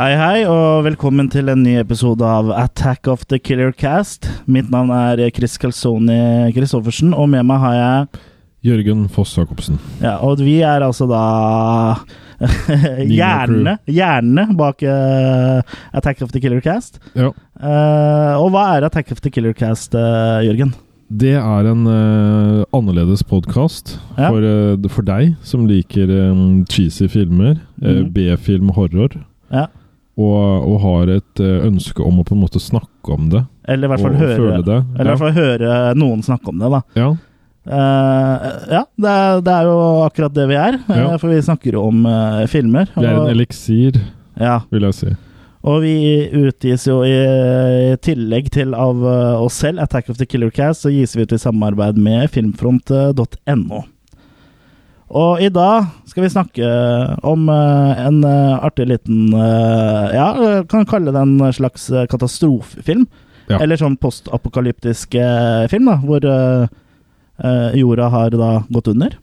Hei, hei, og velkommen til en ny episode av Attack of the Killer Cast. Mitt navn er Chris Calzoni Christoffersen, og med meg har jeg Jørgen Foss Jacobsen. Ja, og vi er altså da Hjernene hjernene bak eh, Attack of the Killer Cast. Ja. Eh, og hva er Attack of the Killer Cast, eh, Jørgen? Det er en eh, annerledes podkast Ja. for, eh, for deg som liker eh, cheesy filmer, eh, Mhm. B-film, horror, Ja. og, og har et eh, ønske om å på en måte snakke om det. Eller i hvert fall og høre føle det. Eller i hvert fall høre noen snakke om det, da. Ja. Eh, ja, det er, det er jo akkurat det vi er, eh, Ja. for vi snakker jo om eh, filmer. ja. Vi er en og- eliksir, ja, vil jeg si. Og vi utgis jo i, i tillegg til av eh, oss selv, Attack of the Killer Cast, så gis vi ut i samarbeid med eh, filmfront.no. Og i dag skal vi snakke om eh, en eh, artig liten eh, Ja, eh, kan kalle det en slags eh, katastrofefilm. Ja. Eller sånn postapokalyptisk eh, film, da, hvor eh, eh, jorda har da gått under.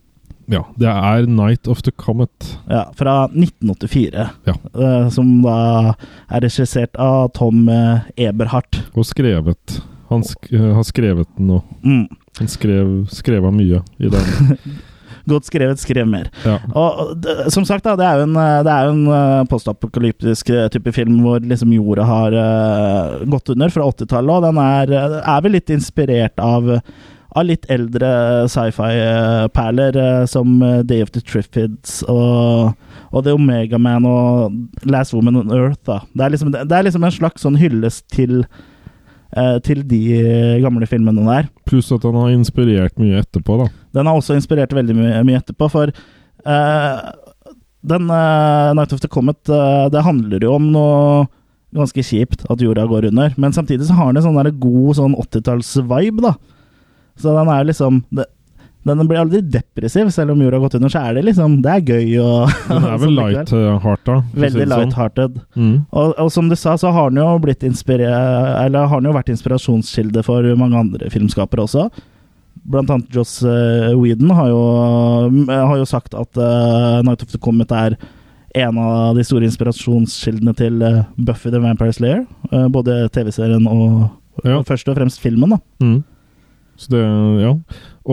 Ja. Det er 'Night of the Comet'. Ja, fra 1984. Ja. Eh, som da er regissert av Tom eh, Eberhardt. Og skrevet. Han sk eh, har skrevet den nå. Mm. Han skrev, skrev han mye i den. Godt skrevet, skrev mer. Ja. Og og det- som sagt, da, det er jo en, eh, det er jo en eh, postapokalyptisk eh, type film hvor liksom jorda har eh, gått under fra 80-tallet, og den er, eh, er vel litt inspirert av eh, av litt eldre sci-fi-perler som eh, Day of the Triffids og, og The Omega Man og Last Woman on Earth. Da. Det, er liksom, det er liksom en slags sånn hyllest til, eh, til de gamle filmene der. Pluss at han har inspirert mye etterpå, da. Den har også inspirert veldig mye, mye etterpå, for eh, den eh, Night of the Comet, eh, det handler jo om noe ganske kjipt, at jorda går under. Men samtidig så har den en sånn der god sånn 80-talls-vibe, da. Så den er liksom det, Den blir aldri depressiv, selv om jorda har gått under, så er det liksom Det er gøy og Den er vel sånn likevel. light eh, heart, da. for å si Veldig det sånn. light-hearted. Mm. Og, og som du sa, så har han jo blitt inspirert Eller har han jo vært inspirasjonskilde for mange andre filmskapere også. Blant annet Joss eh, Whedon har jo, mm, har jo sagt at eh, Night of the Comet er en av de store inspirasjonskildene til eh, Buffy the Vampire Slayer. eh, både TV-serien og, Ja. og først og fremst filmen, da. Mm. Så det, ja.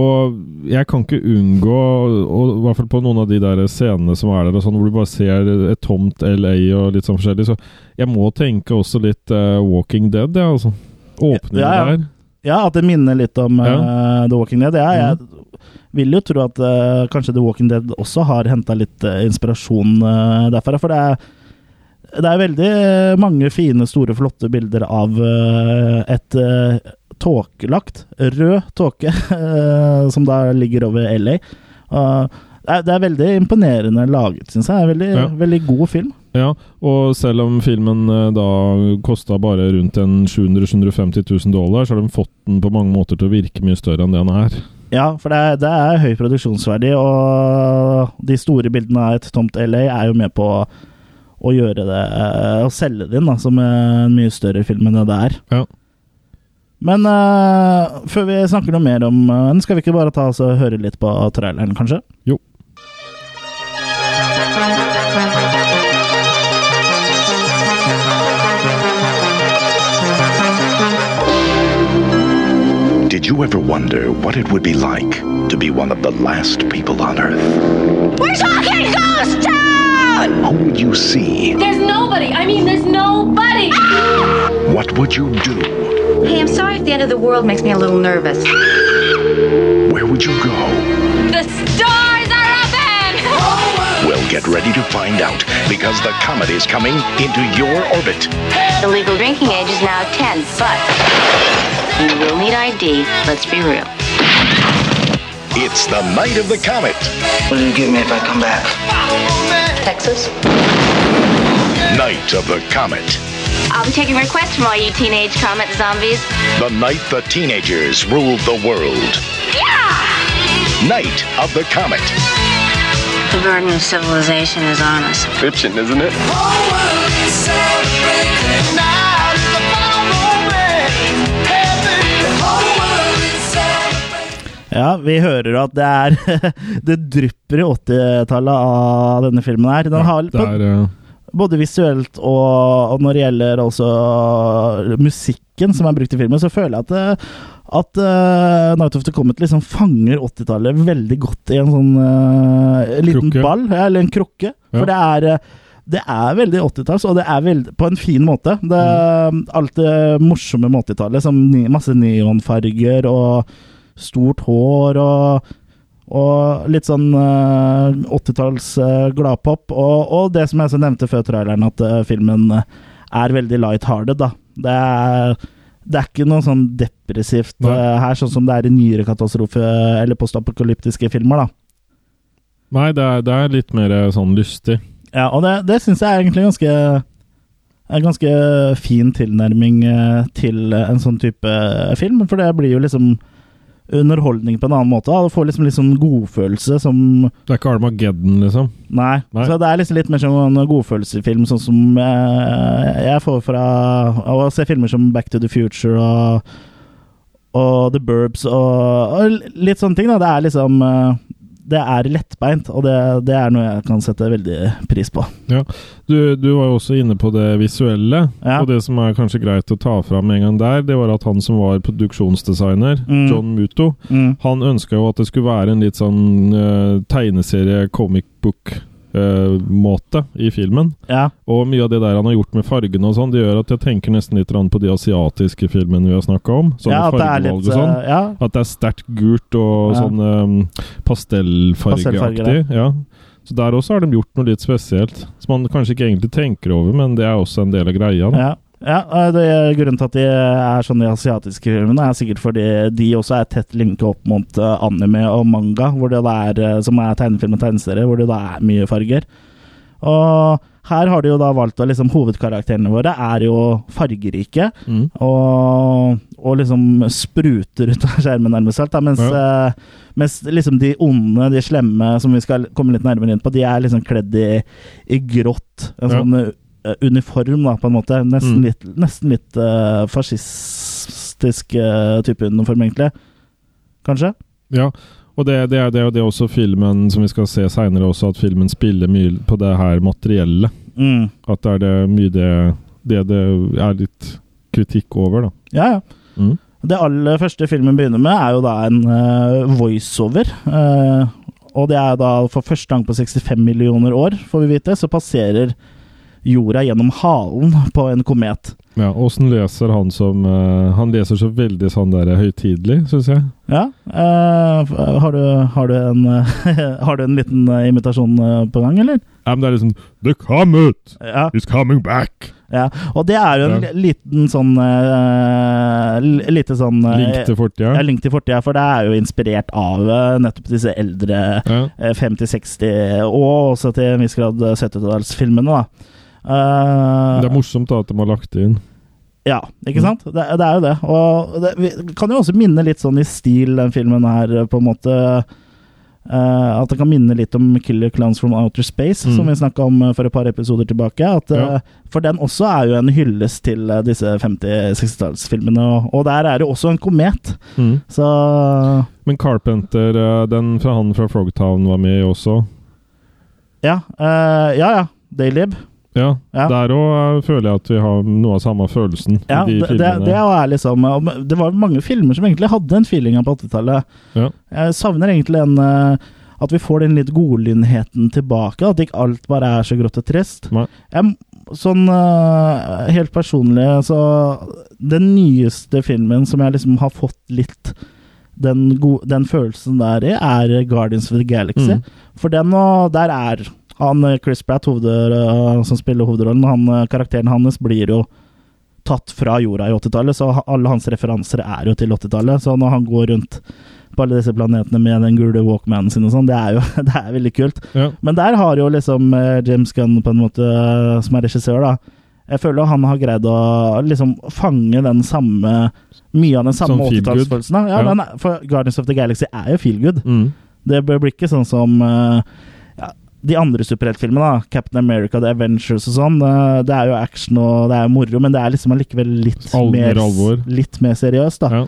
Og jeg kan ikke unngå, og i hvert fall på noen av de der scenene som er der, og sånn, hvor du bare ser et tomt LA og litt sånn forskjellig, så jeg må tenke også litt eh, Walking Dead, ja, altså. Åpningen Ja, ja. der. Ja, at det minner litt om eh, The Walking Dead. Ja, jeg vil jo tro at eh, kanskje The Walking Dead også har henta litt eh, inspirasjon eh, derfra. For det er, det er veldig mange fine, store, flotte bilder av eh, et eh, tåkelagt, rød tåke, eh, som da ligger over LA. Og det er, det er veldig imponerende laget, syns jeg. Det er Veldig, Ja. veldig god film. Ja, og selv om filmen eh, da kosta bare rundt en 700 750 000 dollar, så har de fått den på mange måter til å virke mye større enn det den er. Ja, for det er, det er høy produksjonsverdi, og de store bildene av et tomt LA er jo med på å, å gjøre det eh, Å selge det inn da, som en mye større film enn det det er. Ja. Men eh, før vi snakker noe mer om eh, den, skal vi ikke bare ta oss og høre litt på traileren, kanskje? Jo. Did you ever wonder what it would be like to be one of the last people on Earth? We're talking ghost town! Who would you see? There's nobody. I mean, there's nobody. What would you do? Hey, I'm sorry if the end of the world makes me a little nervous. Where would you go? The stars are open. Well, get ready to find out because the comet is coming into your orbit. The legal drinking age is now 10, but you will need ID. Let's be real. It's the night of the comet. What will you give me if I come back? Texas? Night of the comet. I'll be taking requests from all you teenage comet zombies. The night the teenagers ruled the world. Yeah! Night of the comet. The burden of civilization is on us. Fiction, isn't it? Ja, vi hører jo at det er Det drypper i 80-tallet av denne filmen her. Den har Det på, er eh, både visuelt og, og når det gjelder også musikken som er brukt i filmen, så føler jeg at, eh, at eh, Night of the Comet liksom fanger 80-tallet veldig godt i en sånn eh, liten Krukke. ball, ja, eller en krukke. For det er eh, det er veldig 80-talls, og det er veldig, på en fin måte. Det, Alt det morsomme med 80-tallet, som ni, masse neonfarger og stort hår og, og litt sånn eh, 80-talls eh, gladpop. Og, og det som jeg også nevnte før traileren, at eh, filmen eh, er veldig light-hearted, da. Det er, det er ikke noe sånn depressivt Nei. eh, her, sånn som det er i nyere katastrofe- eller postapokalyptiske filmer, da. Nei, det er, det er litt mer eh, sånn lystig. Ja, og det, det syns jeg er egentlig ganske en ganske fin tilnærming eh, til en sånn type film, for det blir jo liksom underholdning på en annen måte. da. Du får liksom litt sånn godfølelse som Det er ikke Armageddon, liksom. Nei. Nei. Så det er liksom litt mer som en godfølelsefilm, sånn som eh, jeg får fra av å se filmer som Back to the Future og, og The Burbs og, og litt sånne ting. da. Det er liksom eh, Det er lettbeint, og det, det er noe jeg kan sette veldig pris på. Du, du var jo også inne på det visuelle, Ja. og det som er kanskje greit å ta fram med en gang der, det var at han som var produksjonsdesigner, Mm. John Muto, Mm. han ønska jo at det skulle være en litt sånn eh, tegneserie-comic book-måte eh, i filmen. Ja. Og mye av det der han har gjort med fargene og sånn, det gjør at jeg tenker nesten litt grann på de asiatiske filmene vi har snakka om. Sånne at det er fargevalg litt, og sånn. eh, Ja, At det er sterkt gult og Ja. sånn um, pastellfargeaktig. Pastellfarger, Ja. Så der også har de gjort noe litt spesielt, som man kanskje ikke egentlig tenker over, men det er også en del av greia. Da. ja. ja eh, det er grunnen til at de er sånn i asiatiske filmene, er sikkert fordi de også er tett linket opp mot eh, anime og manga, hvor det da er, eh, som er tegnefilm og tegneserie, hvor det da er mye farger. Og her har de jo da valgt å liksom Hovedkarakterene våre er jo fargerike. Mm. og, og liksom spruter ut av skjermen nærmest alt. Da, mens, eh, mens liksom de onde, de slemme, som vi skal komme litt nærmere inn på, de er liksom kledd i, i grått. En Ja. sånn eh, uniform, da, på en måte. Nesten Mm. litt, nesten litt eh, fascistisk eh, type uniform, egentlig. Kanskje? Ja, og det, det, er, det er jo det også filmen, som vi skal se seinere også, at filmen spiller mye på det her materielle. Mm. At det er det mye det det, det er litt kritikk over, da. Ja, ja. Mm. Det aller første filmen begynner med, er jo da en eh, voiceover. eh, og det er da for første gang på 65 millioner år, får vi vite, så passerer jorda gjennom halen på en komet. Ja, Åssen leser han som eh, Han leser så veldig sånn der høytidelig, syns jeg. Ja. eh, har, du, har, du en, eh, har du en liten eh, imitasjon eh, på gang, eller? Ja, men det er liksom The Comet Ja. is coming back! ja. Og det er jo en Ja. li- liten sånn eh, li- Lite sånn eh, Link til ja, fortida. link til fortida, for det er jo inspirert av eh, nettopp disse eldre Ja. Eh, 50-60 og også til en viss grad 70-tallsfilmene, da. Eh, Det er Mm. morsomt da at de har lagt det inn. ja, ikke sant? Det, det er jo det. Og det vi kan jo også minne litt sånn i stil, den filmen her, på en måte. eh, at det kan minne litt om 'Killer Clowns from Outer Space', Mm. som vi snakka om eh, for et par episoder tilbake. At, eh, Ja. For den også er jo en hyllest til eh, disse 50-60-tallsfilmene. Og, og der er det også en komet, Mm. så Men Carpenter, eh, den fra han fra Frogtown var med også. Ja, eh, ja. ja. Daylib. Ja, Ja. Der òg føler jeg at vi har noe av samme følelsen Ja, i det, de det, filmene. det er liksom og Det var mange filmer som egentlig hadde den feelinga på 80-tallet. Ja. Jeg savner egentlig den eh, At vi får den litt godlynheten tilbake. At ikke alt bare er så grått og trist. Nei. Jeg, sånn eh, helt personlig, så Den nyeste filmen som jeg liksom har fått litt den, go den følelsen der i, er Guardians of the Galaxy. Mm. For den og der er han eh, Chris Pratt, hoved, eh, som spiller hovedrollen, han, eh, karakteren hans blir jo tatt fra jorda i 80-tallet, så ha- alle hans referanser er jo til 80-tallet. Så når han går rundt på alle disse planetene med den gule Walkmanen sin og sånn, det er jo det er veldig kult. Ja. Men der har jo liksom eh, James Gunn, på en måte, eh, som er regissør, da Jeg føler han har greid å liksom fange den samme Mye av den samme Sånn feel good. 80-tallsfølelsen. da. Ja, Ja. den er- For Guardians of the Galaxy er jo feel good. Mm. Det bør bli ikke sånn som eh, ja, de andre superheltfilmene. da. Captain America, The Avengers og sånn. eh, det er jo action og det er moro, men det er liksom allikevel litt, Alvor, mer- alvor. litt mer seriøst. da. Ja.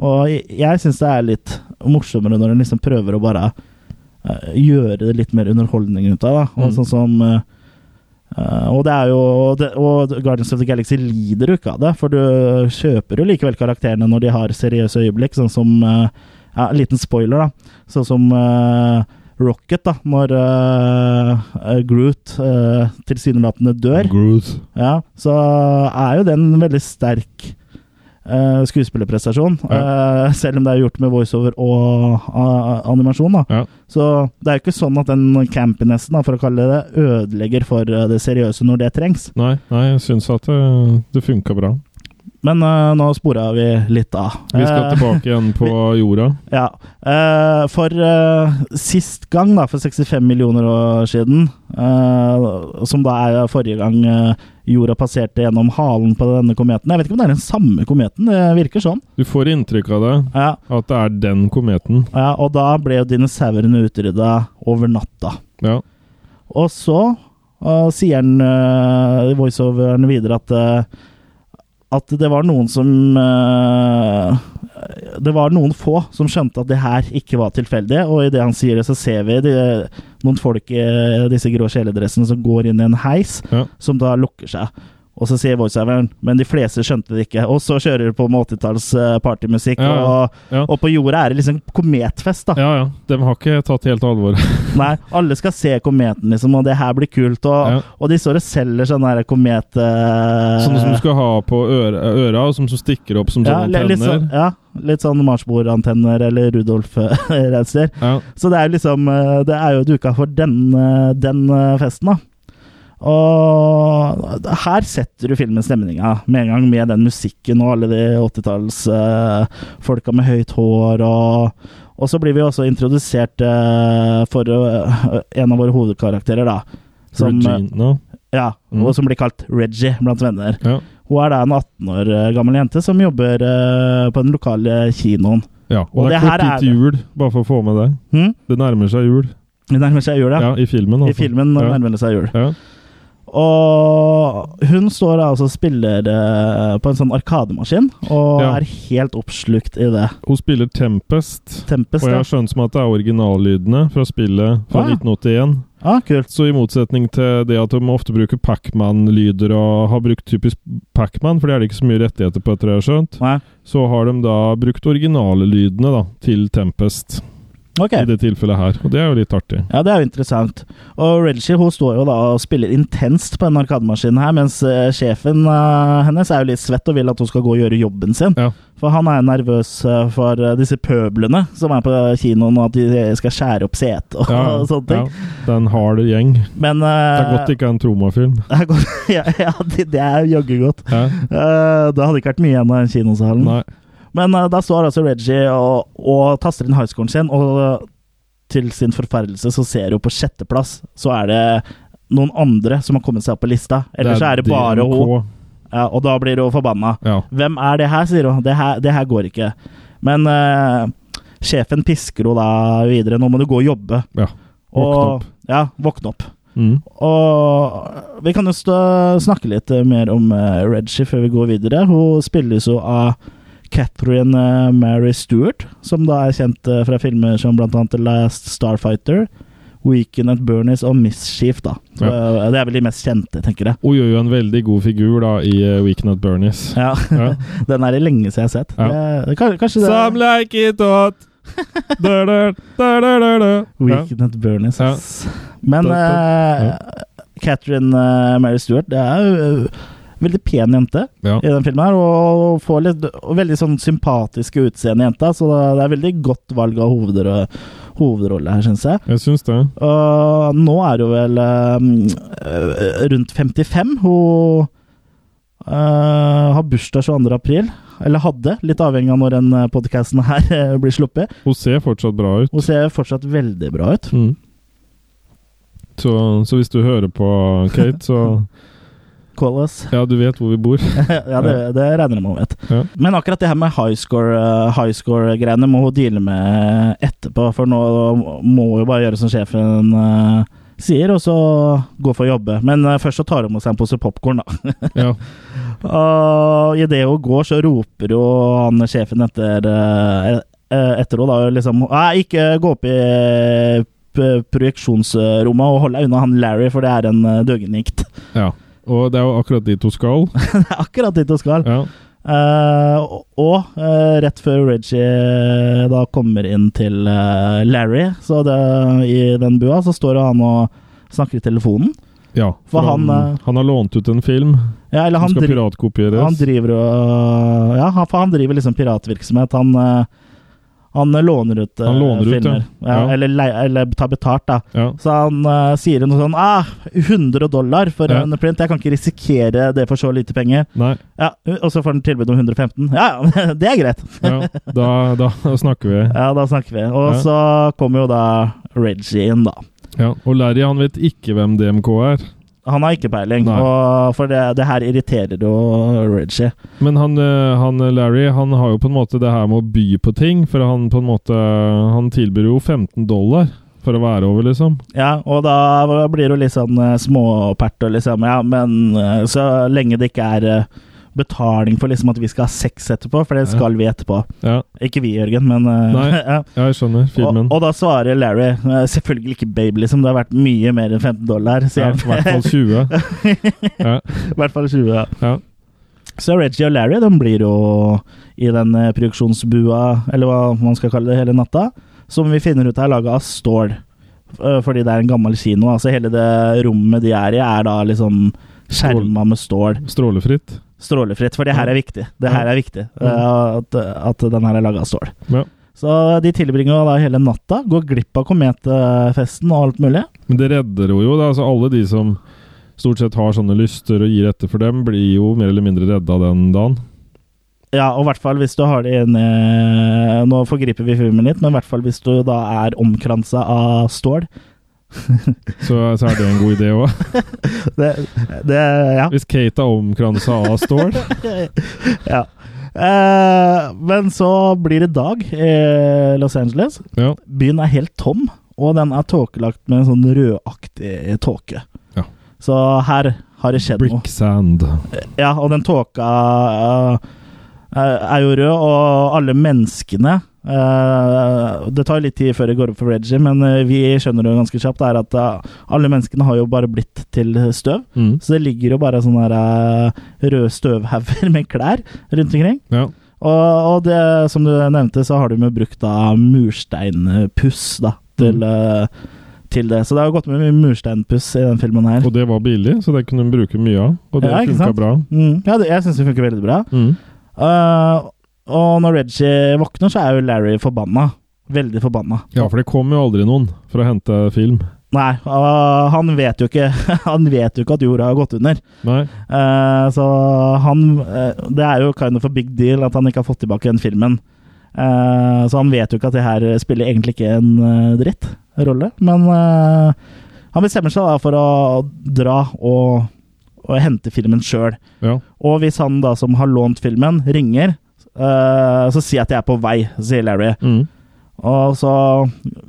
Og jeg, jeg syns det er litt morsommere når en liksom prøver å bare eh, gjøre det litt mer underholdning ut av det. Og Mm. sånn som eh, Eh, og det er jo det, Og Guardians of the Galaxy lider jo ikke av det, for du kjøper jo likevel karakterene når de har seriøse øyeblikk, sånn som eh, ja, En liten spoiler, da. Sånn som eh, Rocket, da, når eh, Groot eh, tilsynelatende dør. Groot. Ja, så er jo den en veldig sterk eh, skuespillerprestasjon. eh, selv om det er gjort med voiceover og ah, animasjon. da. Ja. Så det er jo ikke sånn at den campinessen, da, for å kalle det det, ødelegger for eh, det seriøse når det trengs. Nei, nei, jeg syns at det, det funka bra. Men eh, nå spora vi litt av. Vi skal Eh, tilbake igjen på jorda. Ja. Eh, for eh, sist gang, da, for 65 millioner år siden, eh, som da er forrige gang eh, jorda passerte gjennom halen på denne kometen Jeg vet ikke om det er den samme kometen, det virker sånn. Du får inntrykk av det. Ja, At det er den kometen. ja, og da ble jo dinosaurene utrydda over natta. Ja. Og så eh, sier han eh, voiceoveren videre at eh, at det var noen som eh, Det var noen få som skjønte at det her ikke var tilfeldig, og i det han sier det, så ser vi de, noen folk i eh, disse grå kjeledressene som går inn i en heis, Ja. som da lukker seg. Og så sier voiceoveren men de fleste skjønte det ikke. Og så kjører du på med 80-talls eh, partymusikk, Ja, ja. Og, Ja. og på jorda er det liksom kometfest, da. ja ja, de har ikke tatt helt alvor. Nei, alle skal se kometen, liksom, og det her blir kult. Og, Ja. og de står og selger sånn der komet... eh, Sånne som du skal ha på øre, øra, og som, som stikker opp som ja, sånne li- litt sånn, antenner. ja, litt sånn marsborantenner eller eh, Rudolf-reiser. Ja. Så det er jo liksom eh, Det er jo duka for den, eh, den eh, festen, da. Og her setter du filmens stemninga med en gang, med den musikken og alle de 80-tallsfolka med høyt hår og Og så blir vi også introdusert eh, for eh, en av våre hovedkarakterer, da. Som, eh, Regina. ja, Mm. og som blir kalt Reggie blant venner. Ja. Hun er da en 18 år eh, gammel jente som jobber eh, på den lokale kinoen. ja. Og, Og det det er her kort er tid til jul, bare for å få med det. Hm? Det nærmer seg jul. Det nærmer seg jul, Ja, ja. i filmen. altså. I filmen ja. nærmer det seg jul. Ja. Og hun står da altså og spiller eh, på en sånn arkademaskin, og Ja. er helt oppslukt i det. Hun spiller Tempest. Tempest, Og jeg ja. har skjønt som at det er originallydene fra spillet fra Ah. 1981. Ah, kult. Så i motsetning til det at de ofte bruker Pacman-lyder og har brukt typisk Pacman, for det er det ikke så mye rettigheter på, etter det jeg har skjønt, Nei. så har de da brukt originale lydene da, til Tempest Ok. i det tilfellet her. Og det er jo litt artig. Ja, det er jo interessant. Og Reggie hun står jo da og spiller intenst på den arkademaskinen her, mens eh, sjefen eh, hennes er jo litt svett og vil at hun skal gå og gjøre jobben sin. Ja. For han er nervøs eh, for eh, disse pøblene som er på kinoen, og at de skal skjære opp setet og, og sånne ting. ja. Det er en hard gjeng. Men eh, Det er godt det ikke er en tromafilm. er godt. ja, ja, det, det er jaggu godt. Ja. Eh, det hadde ikke vært mye igjen av den kinosalen. Nei. Men eh, da står altså Reggie og, og taster inn highscoren sin, og eh, til sin forferdelse så ser hun på sjetteplass, så er det noen andre som har kommet seg opp på lista. Eller så er det bare DNK. hun, ja, og da blir hun forbanna. Ja. Hvem er det her, sier hun. Det her, det her går ikke. Men eh, sjefen pisker hun da videre. Nå må du gå og jobbe. ja. Våkne Og, opp. ja, våkne opp. Mm. Og vi kan jo stå, snakke litt eh, mer om eh, Reggie før vi går videre. Hun spilles jo av Catherine eh, Mary Stewart, som da er kjent eh, fra filmer som blant annet The Last Starfighter, Weekend at Bernies og Mischief, da. Så, eh, Det er vel de mest kjente, tenker jeg. Hun gjør jo en veldig god figur da i eh, Weekend at Bernies. Ja, Ja. Den er det lenge siden jeg har sett. Ja. Det- Det, kan- kanskje det Some like it hot. Da, da, da, da, da, da. Ja. Weekend at Bernies. Ja. ass. Men Da- da- eh, Catherine eh, Mary Stewart, det er jo eh, veldig pen jente. Ja. i den filmen her, og får litt og veldig sånn sympatiske utseende jenta, så det er veldig godt valg av hovedro hovedrolle her, syns jeg. Jeg syns det. Og nå er hun vel um, eh, rundt 55. Hun eh, har bursdag 22. april, eller hadde, litt avhengig av når den podkasten her eh, blir sluppet. Hun ser fortsatt bra ut. Hun ser fortsatt veldig bra ut. Mm. Så, så hvis du hører på eh, Kate, så Call us. Ja, du vet hvor vi bor. ja, det, det regner jeg med hun vet. Ja. Men akkurat det her med high score, eh, high score-greiene må hun deale med etterpå, for nå må hun jo bare gjøre som sjefen eh, sier, og så gå for å jobbe. Men eh, først så tar hun med seg en pose popkorn, da. Ja. Og idet hun går, så roper jo han sjefen etter eh, eh, etter henne, da. og Liksom Nei, ikke gå opp i p- projeksjonsrommet og hold deg unna han Larry, for det er en eh, døgenikt. Ja. Og det er jo akkurat dit hun skal. det er akkurat dit hun skal. Ja. Eh, og- og eh, rett før Reggie eh, da kommer inn til eh, Larry så det, i den bua, så står han og snakker i telefonen. ja For han, eh, han har lånt ut en film. Ja, eller Han, han, skal dri piratkopieres. han driver og Ja, han, for han driver liksom piratvirksomhet. Han, eh, han låner ut eh, Han låner ut, ja. filmer. Ja. Eller, lei- eller tar betalt, da. ja. Så han eh, sier noe sånn ah, 100 dollar for Ja. en print, jeg kan ikke risikere det for så lite penger. Nei. Ja, Og så får han tilbud om 115. Ja, ja, det er greit. Ja. Da, da snakker vi. Ja, da snakker vi. Og Ja. så kommer jo da Reggie inn, da. Ja. Og Larry han vet ikke hvem DMK er. Han har ikke peiling, Nei. og for det, det her irriterer jo Reggie. Men han, eh, han Larry han har jo på en måte det her med å by på ting, for han på en måte Han tilbyr jo 15 dollar for å være over, liksom. Ja, og da blir du litt sånn eh, småpert og liksom Ja, men eh, så lenge det ikke er eh, betaling for liksom at vi skal ha sex etterpå, for det Ja. skal vi etterpå. Ja, Ikke vi, Jørgen, men eh, Nei. ja. ja jeg skjønner. Filmen. Og, og da svarer Larry eh, selvfølgelig ikke babe, liksom. Det har vært mye mer enn 15 dollar. ja, sier I han. hvert fall 20. Ja, I hvert fall 20. Ja. ja. Så Reggie og Larry de blir jo i den eh, produksjonsbua, eller hva man skal kalle det, hele natta. Som vi finner ut er laga av stål. Eh, Fordi det er en gammel kino. Altså hele det rommet de er i, er da liksom skjerma med stål. Strålefritt. Strålefritt. For det her er viktig. Det her er viktig. eh, At, at den her er laga av stål. Ja. Så de tilbringer jo da hele natta, går glipp av kometfesten og alt mulig. Men det redder henne jo. Da. Altså, alle de som stort sett har sånne lyster og gir etter for dem, blir jo mer eller mindre redda den dagen. Ja, og i hvert fall hvis du har det inne Nå forgriper vi filmen litt, men i hvert fall hvis du da er omkransa av stål. Så, så er det en god idé òg. Det, det ja. Hvis Kate er omkransa av stål ja. Eh, men så blir det dag i Los Angeles. ja. Byen er helt tom, og den er tåkelagt med en sånn rødaktig tåke. Ja. Så her har det skjedd noe. Brick sand. Ja, og den tåka eh, er jo rød, og alle menneskene eh, Det tar jo litt tid før det går opp for Reggie, men eh, vi skjønner jo ganske kjapt er at eh, alle menneskene har jo bare blitt til støv. Mm. Så det ligger jo bare sånne her, eh, røde støvhauger med klær rundt omkring. Ja. Og, og det, som du nevnte, så har de jo brukt da mursteinpuss da, til, eh, til det. Så det har jo gått med mye mursteinpuss i den filmen her. Og det var billig, så det kunne de bruke mye av. Og det Ja, ikke funka sant? bra. Mm. Ja, det, jeg syns det funker veldig bra. Mm. Eh, og når Reggie våkner, så er jo Larry forbanna. Veldig forbanna. Ja, for det kom jo aldri noen for å hente film. Nei, og han vet jo ikke Han vet jo ikke at jorda har gått under. Nei. Eh, så han eh, Det er jo kind of a big deal at han ikke har fått tilbake den filmen. Eh, så han vet jo ikke at det her spiller egentlig ikke en eh, dritt rolle, men eh, han bestemmer seg da for å dra og, og hente filmen sjøl. Ja. Og hvis han da som har lånt filmen, ringer, eh, så si at jeg er på vei, sier Larry. Mm. Og så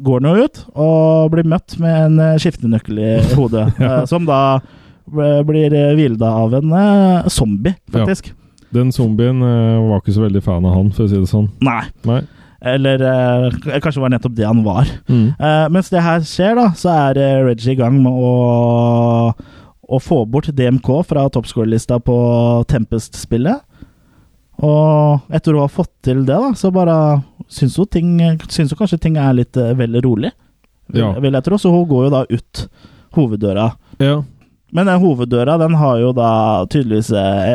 går han jo ut og blir møtt med en eh, skiftenøkkel i hodet, eh, Ja. som da eh, blir eh, hvilet av en eh, zombie, faktisk. Den zombien eh, var ikke så veldig fan av han, for å si det sånn. Nei. Nei. Eller eh, k- kanskje det var nettopp det han var. Mm. Eh, mens det her skjer, da, så er eh, Reggie i gang med å, å få bort DMK fra toppscore-lista på Tempest-spillet. Og etter å ha fått til det, da, så bare syns hun, ting, syns hun kanskje ting er litt eh, vel rolig, vil, Ja. vil jeg tro. Så hun går jo da ut hoveddøra. Ja. Men den hoveddøra den har jo da tydeligvis eh,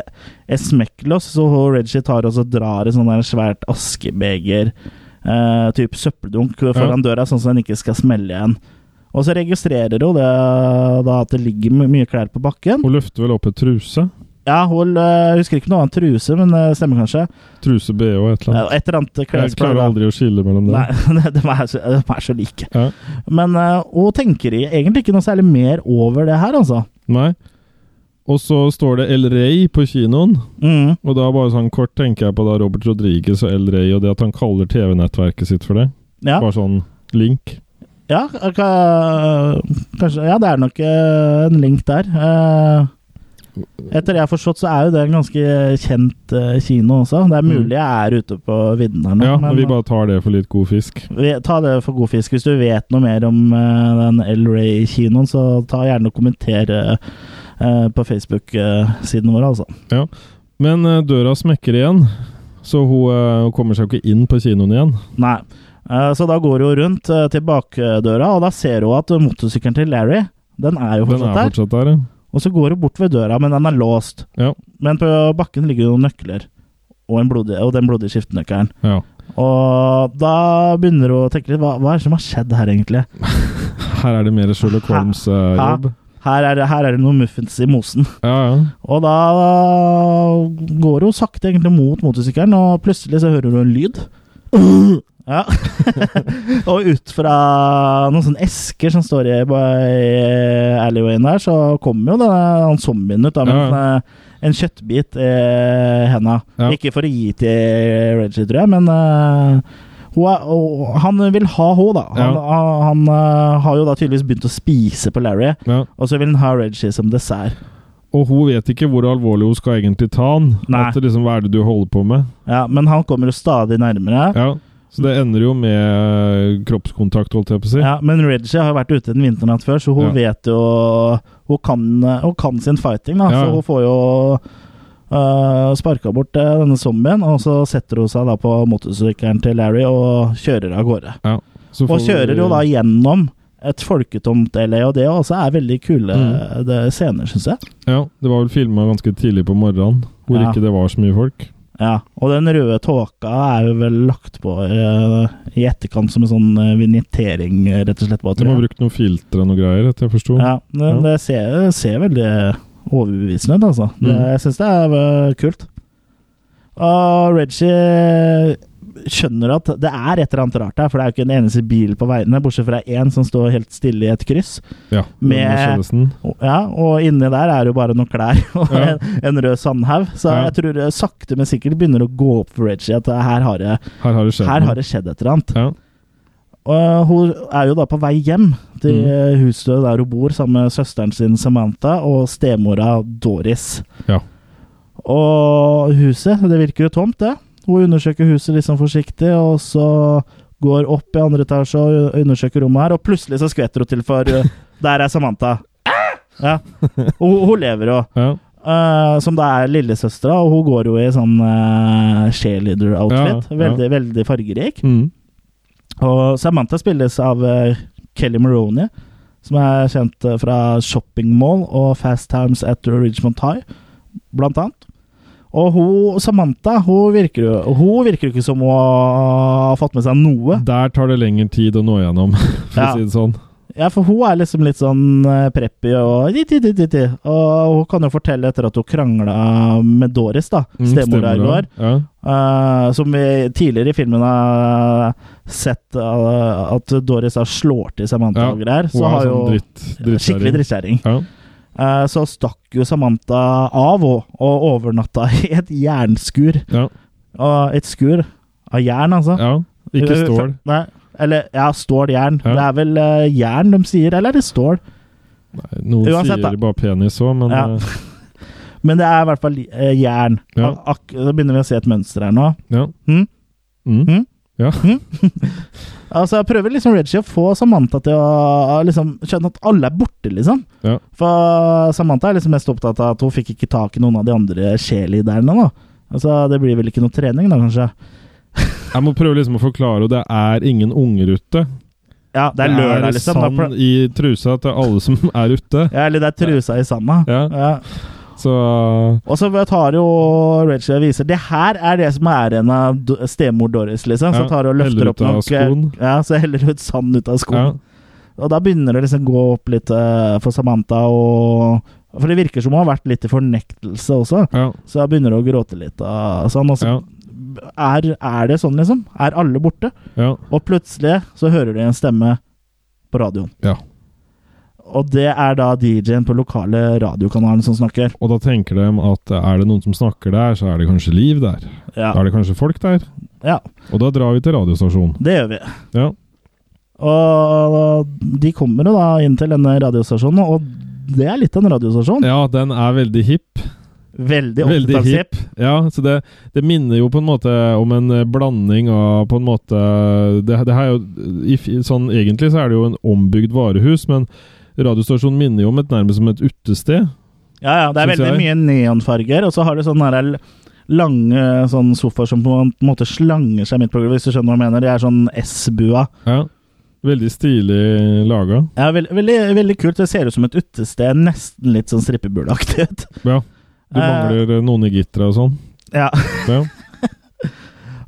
et smekklås, så hun Reggie tar og så drar et sånn der svært askebeger, eh, type søppeldunk, foran døra, sånn at den ikke skal smelle igjen. Og så registrerer hun det, da at det ligger my- mye klær på bakken. Hun løfter vel opp et truse. Ja, hun eh, husker ikke noe annet truse, men det stemmer kanskje. Truse, bh og et eller Eh, annet. Et eller annet Jeg klesplagg. klarer da. aldri å skille mellom dem. Nei, de er, så, de er så like. Ja. Men eh, hun tenker i- egentlig ikke noe særlig mer over det her, altså. Nei. Og så står det El Rey på kinoen, Mm. og da bare sånn kort tenker jeg på da Robert Rodriguez og El Rey, og det at han kaller TV-nettverket sitt for det. Ja. Bare sånn link. Ja, eh, ka- kanskje, ja, det er nok eh, en link der. Eh, Etter det jeg har forstått, så er jo det en ganske kjent eh, kino også. Det er mulig jeg er ute på vidden her nå, Mm. Ja, men men eh, vi bare tar det for litt god fisk. vi- ta det for god fisk. Hvis du vet noe mer om eh, den El Rey-kinoen, så ta gjerne og kommenter eh, på Facebook-siden vår, altså. Men eh, døra smekker igjen, så hun eh, kommer seg jo ikke inn på kinoen igjen. Nei. Eh, Så da går hun rundt eh, til bakdøra, og da ser hun at motorsykkelen til Larry den er jo Den fortsatt er der. fortsatt der, ja. Og så går hun bort ved døra, men den er låst. Ja. Men på bakken ligger noen nøkler, og, en blodig, og den blodige skiftenøkkelen. ja. Og da begynner hun å tenke litt hva, hva er det som har skjedd her, egentlig? Her er det mer Sherlock Hæ? Holmes-jobb. Her er, det- her er det noen muffins i mosen. ja, ja. Og da går hun sakte egentlig mot motorsykkelen, og plutselig så hører hun en lyd. Ja. og ut fra noen sånne esker som står i, i alleywayen der, så kommer jo denne han zombien ut da, med Ja, en, eh, en kjøttbit i henda. Ja. Ikke for å gi til Reggie, tror jeg, men eh, hun er, og han vil ha henne, da. Han, han, eh, har jo da tydeligvis begynt å spise på Larry, ja. og så vil han ha Reggie som dessert. Og hun vet ikke hvor alvorlig hun skal egentlig ta han. Nei. At det liksom, Hva er det du holder på med? Ja, men han kommer jo stadig nærmere. Ja. Ja. Så det ender jo med eh, kroppskontakt, holdt jeg på å si. men Reggie har jo vært ute en vinternatt før, så hun Ja. vet jo hun kan, hun kan sin fighting, da. Ja. Så hun får jo øh, sparka bort øh, denne zombien, og så setter hun seg da på motorsykkelen til Larry og kjører av gårde. Så får Og kjører jo da gjennom et folketomt LA, og det også er veldig kule Mm. det, scener, syns jeg. Ja, det var vel filma ganske tidlig på morgenen, hvor Ja. ikke det var så mye folk. Ja, Og den røde tåka er jo vel lagt på øh, i etterkant som en sånn øh, vignettering, øh, rett og slett. Bare, De har brukt noen filtre og noe greier, etter jeg forsto. Ja, det, det ser, ser veldig overbevisende ut, altså. Det, Mm. jeg syns det er øh, kult. Og Reggie skjønner at det er et eller annet rart her, for det er jo ikke en eneste bil på veiene, bortsett fra én som står helt stille i et kryss. Ja, Med- med Mercedesen. Og- Ja, og inni der er jo bare noen klær og Oh. Ja. en, en rød sandhaug, så Ja. jeg tror det sakte, men sikkert begynner å gå opp for Reggie at eh, her har det, Her har det skjedd her noe. har det skjedd et eller annet. Ja. Og hun er jo da på vei hjem til mm. huset der hun bor, sammen med søsteren sin Samantha og stemora Doris. Ja. Og huset, det virker jo tomt, det. Hun undersøker huset litt sånn forsiktig, og så går opp i andre etasje og undersøker rommet her, og plutselig så skvetter hun til, for uh, der er Samantha. Ja. Og hun, hun lever jo. Ja. Eh, som da er lillesøstera, og hun går jo i sånn uh, cheerleader-outfit. Ja, ja. Veldig, veldig fargerik. Mm. Og Samantha spilles av eh, Kelly Maroney, som er kjent eh, fra Shopping Mall og Fast Times at Ridgemont High, blant annet. Og hun, Samantha hun virker jo hun virker jo ikke som hun har fått med seg noe. Der tar det lengre tid å nå gjennom, for Ja. å si det sånn. Ja, For hun er liksom litt sånn eh, preppy og di, di, di, di, di. Og hun kan jo fortelle etter at hun krangla med Doris, da, Mm, stemora i stemmer går. det. Ja. Eh, som vi tidligere i filmen har sett eh, at Doris har slår til Samantha Ja, og greier. Hun Så er har jo sånn dritt, dritt Skikkelig drittkjerring. Ja. Eh, så stakk jo Samantha av og, og overnatta i et jernskur. Ja. Og et skur av jern, altså. ja. Ikke stål. Nei. Eller ja, ståljern. Ja. Det er vel eh, jern de sier, eller er det stål? Nei, Noen Uansett, da. sier bare penis òg, men Ja. eh, Men det er i hvert fall eh, jern. Ja. Ak da begynner vi å se et mønster her nå. ja. Mm. Mm. Mm. Ja. Altså, jeg prøver liksom Reggie å få Samantha til å liksom, skjønne at alle er borte, liksom. Ja. For Samantha er liksom mest opptatt av at hun fikk ikke tak i noen av de andre cheerleaderne. da. Altså, det blir vel ikke noe trening, da, kanskje? Jeg må prøve liksom å forklare, og det er ingen unger ute. Ja, det er lørdag, liksom. Da sand pl- i trusa til alle som er ute. ja, eller det er trusa i sanda. Ja. Ja. Så Og så tar jo Rachel og viser Det her er det som er igjen av do- stemor Doris, liksom. Så Ja, tar hun og heller løfter ut opp av nok skoen. Ja, så heller ut sand ut av ja. skoen. Og da begynner det liksom å gå opp litt eh, for Samantha og For det virker som hun har vært litt i fornektelse også. Ja. Så da begynner hun å gråte litt og sånn. Og så Ja. er, er det sånn, liksom. Er alle borte? Ja. Og plutselig så hører de en stemme på radioen. ja. Og det er da DJ-en på lokale radiokanalen som snakker. Og da tenker de at er det noen som snakker der, så er det kanskje liv der. Ja, Da er det kanskje folk der. ja Og da drar vi til radiostasjonen. det gjør vi. Ja. Og de kommer jo da inn til denne radiostasjonen, og det er litt av en radiostasjon. Ja, den er veldig hipp. Veldig Veldig hipp. opptatt Ja, så det, det minner jo på en måte om en eh, blanding av på en måte Det, det her er jo i, f- sånn, Egentlig så er det jo en ombygd varehus, men radiostasjonen minner jo om et nærmest som et utested. Ja, ja, det er Synes veldig jeg. mye neonfarger, og så har du sånne her lange sånn sofaer som på en måte slanger seg midt på gulvet, hvis du skjønner hva jeg mener. De er sånn S-bua. Ja. Veldig stilig laga. Ja, veld, veldig, veldig kult. Det ser ut som et utested, nesten litt sånn strippebulaktig ut. Ja. Du Eh. mangler eh, noen i gitteret og sånn. Ja. Ja.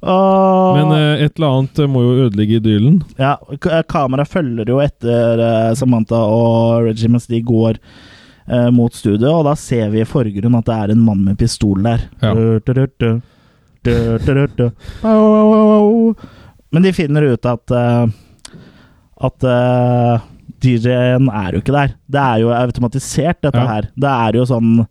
Og, Men eh, et eller annet eh, må jo ødelegge idyllen. ja, k- eh, kamera følger jo etter eh, Samantha og Reggie mens de går eh, mot studio, og da ser vi i forgrunnen at det er en mann med pistol der. Ja. Du, du, du, du. Du, du, du, du. Au, au, au, au. Men de finner ut at eh, at eh, DJ-en er jo ikke der. Det er jo automatisert, dette Ja. her. Det er jo sånn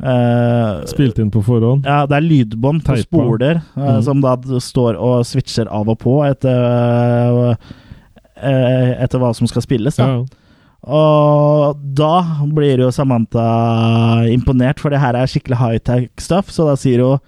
eh, Spilt inn på forhånd. Ja, det er lydbånd på Teipa. spoler eh, Mhm. som da d- står og switcher av og på etter, eh, etter hva som skal spilles. Da. Ja. Og da blir jo Samantha imponert, for det her er skikkelig high-tech stuff, så da sier hun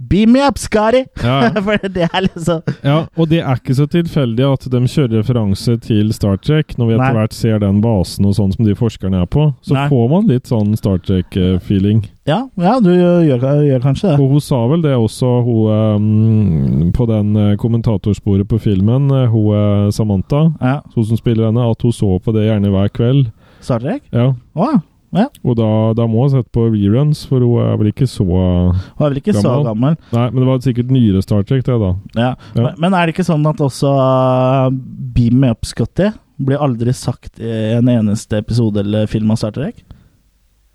Beam me up, Skari! Ja. for det er liksom ja, og det er ikke så tilfeldig at de kjører referanse til Star Trek, når vi Nei. etter hvert ser den basen og sånn som de forskerne er på. Så Nei. får man litt sånn Star Trek-feeling. Ja, ja du gjør, gjør kanskje det. Og hun sa vel det også, hun eh, på den eh, kommentatorsporet på filmen, eh, hun eh, Samantha, Ja, hun som spiller henne, at hun så på det gjerne hver kveld. Star Trek? Ja. Å, ja. Og da, da må hun sette på reruns, for hun er vel ikke så Hun er vel ikke så Gammel. gammel. Nei, men det var sikkert nyere Star Trek, det, da. Ja. Ja. Men- Men er det ikke sånn at også uh, Beam Me Up Scotty blir aldri sagt i en eneste episode eller film av Star Trek?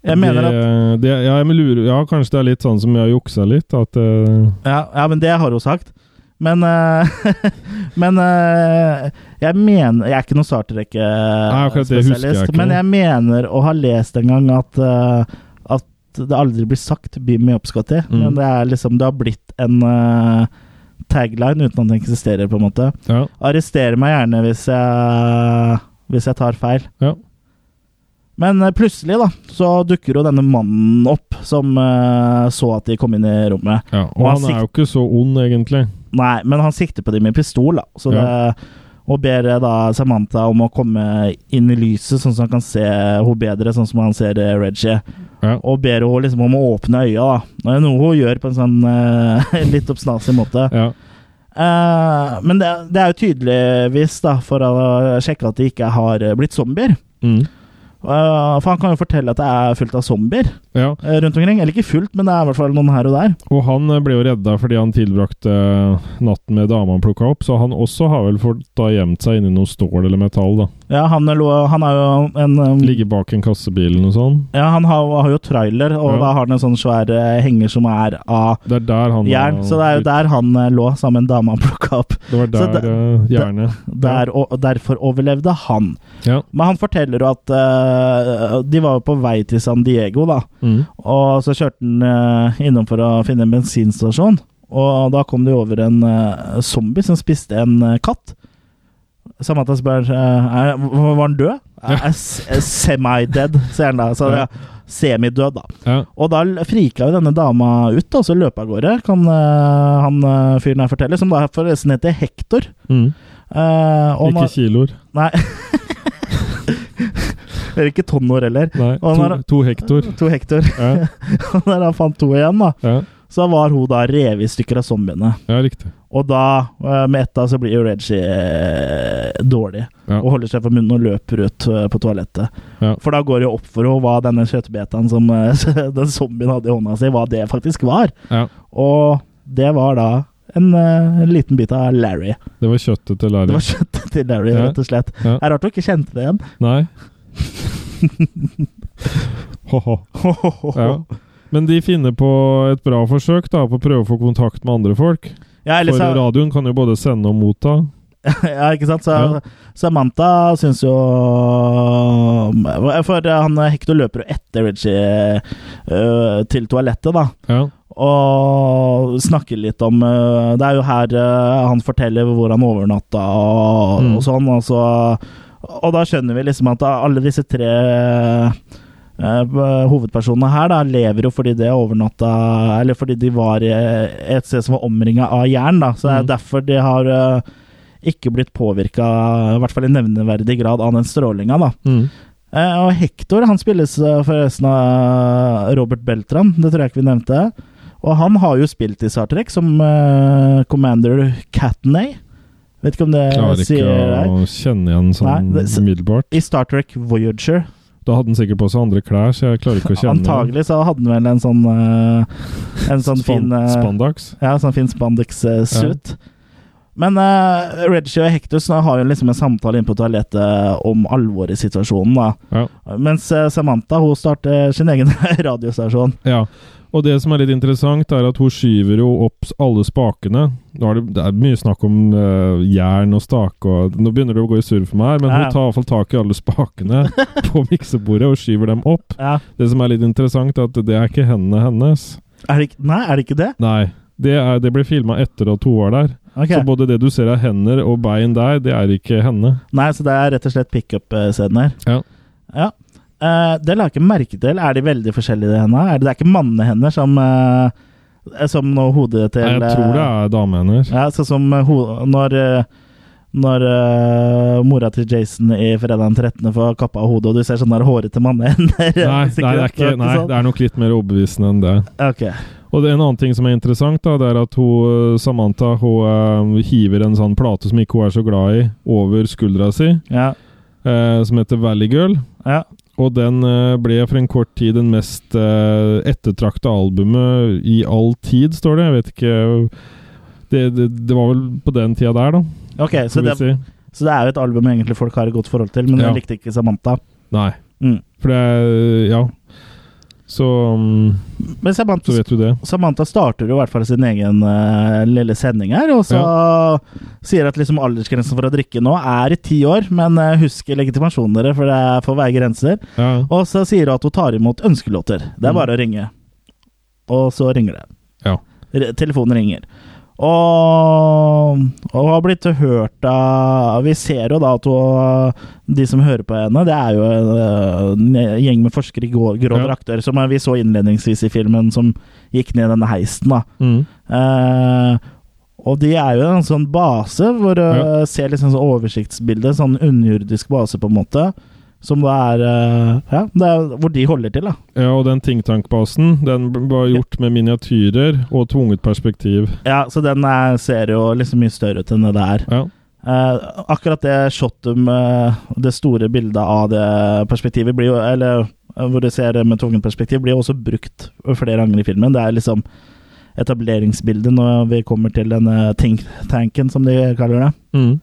Jeg mener at det, det, ja, jeg lurer, ja, kanskje det er litt sånn som jeg har juksa litt. At eh, Ja, ja men det har hun sagt. Men uh, Men uh, jeg mener Jeg er ikke noen Star Nei, akkurat det husker jeg Trek-spesialist, ikke. men jeg mener å ha lest en gang at uh, At det aldri blir sagt Beam Me Up Scotty, Mm. men det er liksom Det har blitt en uh, tagline uten at den eksisterer, på en måte. ja, Arrester meg gjerne hvis jeg, hvis jeg tar feil. ja. Men eh, plutselig da, så dukker jo denne mannen opp, som eh, så at de kom inn i rommet. ja. Og Og han han er jo ikke så ond, egentlig. Nei, men han sikter på dem med pistol, da. Så Ja. det, og ber eh, da Samantha om å komme inn i lyset, sånn som han kan se henne bedre, sånn som han ser eh, Reggie. Ja. Og ber henne liksom om å åpne øya, da. Det er Noe hun gjør på en sånn eh, litt oppsnasig måte. Ja. Eh, men det, det er jo tydeligvis da, for å sjekke at de ikke har eh, blitt zombier. Mm. Eh, for han kan jo fortelle at det er fullt av zombier ja. eh, rundt omkring. Eller ikke fullt, men det er i hvert fall noen her og der. Og han eh, ble jo redda fordi han tilbrakte eh, natten med dama han plukka opp, så han også har vel fått da gjemt seg inni noe stål eller metall, da. Ja, han, lå- han er jo en um, Ligger bak en kassebil eller noe sånt. Ja, han har, har jo trailer, og Ja. da har han en sånn svær eh, henger som er av Det er der han jern. Så det er jo der han eh, lå sammen med en dame han plukka opp. Det var Så der det- eh, jernet Der, og, og derfor overlevde han. Ja. Men han forteller jo at eh, de var jo på vei til San Diego, da. Mm. Og så kjørte han eh, innom for å finne en bensinstasjon. Og da kom de over en eh, zombie som spiste en eh, katt. Samantha spør eh, er, Var han død? Er- er s- er Semi-dead, sier han da. Så det Ja. er Semidød, da. Ja. Og da l- frika jo denne dama ut, da, og så løp av gårde, kan eh, han eh, fyren her fortelle. Som da forresten heter Hector. Mm. Eh, og Ikke når, kiloer. Nei. Det er ikke tonnår heller. Nei, to, Og når- to hektor. To Hector. Ja. Og når han fant to igjen, da, Ja. så var hun da revet i stykker av zombiene. ja, riktig. Og da, eh, med ett av, så blir jo Reggie eh, dårlig. Ja. Og holder seg for munnen og løper ut eh, på toalettet. Ja. For da går det jo opp for henne hva denne kjøttbetaen som eh, den zombien hadde i hånda si, hva det faktisk var. Ja. Og det var da en eh, liten bit av Larry. Det var kjøttet til Det Larry. var kjøttet til Larry, Ja. rett og slett. Ja. Det er rart du ikke kjente det igjen. Nei. Ho-ho. Ja. Men de finner på et bra forsøk da, på å prøve å få kontakt med andre folk. Ja, eller For så, radioen kan jo både sende og motta. ja, ikke sant? Så, Ja. Samantha syns jo eh, For han Hector løper jo etter Reggie øh, til toalettet, da. Ja. Og snakker litt om øh, Det er jo her øh, han forteller hvor han overnatta og, Mm. og sånn. Og, så, og da skjønner vi liksom at alle disse tre Eh, b- hovedpersonene her da, lever jo fordi de overnatta Eller fordi de var i et sted som var omringa av jern, da. Så det er Mm. derfor de har eh, ikke blitt påvirka, i hvert fall i nevneverdig grad, av den strålinga, da. Mm. Eh, og Hector han spilles eh, forresten av eh, Robert Beltran, det tror jeg ikke vi nevnte. Og han har jo spilt i Star Trek som eh, Commander Catney. Vet ikke om det Eh, Klarer sier ikke deg. å kjenne igjen sånn Nei, det- s- umiddelbart. I Star Trek Voyager. Da hadde han sikkert på seg andre klær, så jeg klarer ikke å kjenne Antagelig så hadde han vel en sånn eh, En sånn fin eh, Spandax. Ja, sånn fin spandex-suit. Men uh, Reggie og Hectus nå har jo liksom en samtale inne på toalettet om alvoret i situasjonen. da. Ja. Mens eh, Samantha hun starter sin egen radiostasjon. Ja. Og det som er litt interessant, er at hun skyver jo opp alle spakene. Nå er det, det er mye snakk om eh, jern og stake og Nå begynner det å gå i surr for meg, men Ja, ja. hun tar i hvert fall tak i alle spakene på miksebordet og skyver dem opp. Ja. Det som er litt interessant, er at det er ikke hendene hennes. Er det ikke, nei, er det ikke det? Nei. Det, er, det ble filma etter at hun var der. Ok. Så både det du ser av hender og bein der, det er ikke henne. nei, så det er rett og slett pickup-scenen her. Ja. Ja. Eh, det la jeg ikke merke til. Er de veldig forskjellige, de hendene? Er det, det er ikke mannehender som eh, Som nå hodet til Nei, jeg tror det eh, er damehender. Ja, sånn som ho når, eh, når eh, mora til Jason i fredag den 13. får kappa av hodet, og du ser sånne der hårete mannehender Nei, nei, det er ikke, nei, det er nok litt mer overbevisende enn det. Ok. Og det, En annen ting som er interessant, da, det er at hun, eh, Samantha hun, eh, hiver en sånn plate som ikke hun er så glad i, over skuldra si, Ja. eh, som heter Valley Girl. Ja. Og den eh, ble for en kort tid den mest eh, ettertrakta albumet i all tid, står det. Jeg vet ikke Det, det, det var vel på den tida der, da. Ok, så får vi det, si. så det er jo et album egentlig folk har et godt forhold til, men Ja. jeg likte ikke Samantha. Nei. Mm. For det er eh, Ja. Så, mm, Men så Samantha, vet du det. Samantha starter jo i hvert fall sin egen eh, lille sending her, og så sier at liksom aldersgrensen for å drikke nå er i ti år, men eh, husk legitimasjonen dere, for det er for veie grenser. Ja. Og så sier hun at hun tar imot ønskelåter. Det er bare å ringe. Og så ringer det. ja. Re- Telefonen ringer. Og, og hun har blitt hørt av Vi ser jo da at hun, de som hører på henne, det er jo en, eh, gjeng med forskere i grå, grå Ja. drakter, som vi så innledningsvis i filmen, som gikk ned denne heisen. da. Mm. Eh, og de er jo en sånn base hvor du Ja. ser liksom sånn oversiktsbilde, sånn underjordisk base på en måte, som da er eh, Ja, det er hvor de holder til, da. Ja, og den thinktank-basen den b- var gjort med miniatyrer og tvunget perspektiv. Ja, så den er, ser jo liksom mye større ut enn det det er. Ja. Eh, akkurat det shotet med det store bildet av det perspektivet blir jo Eller eh, hvor du ser det med tvungent perspektiv, blir jo også brukt flere ganger i filmen. Det er liksom etableringsbildet når vi kommer til denne think tanken, som de kaller det. Mm.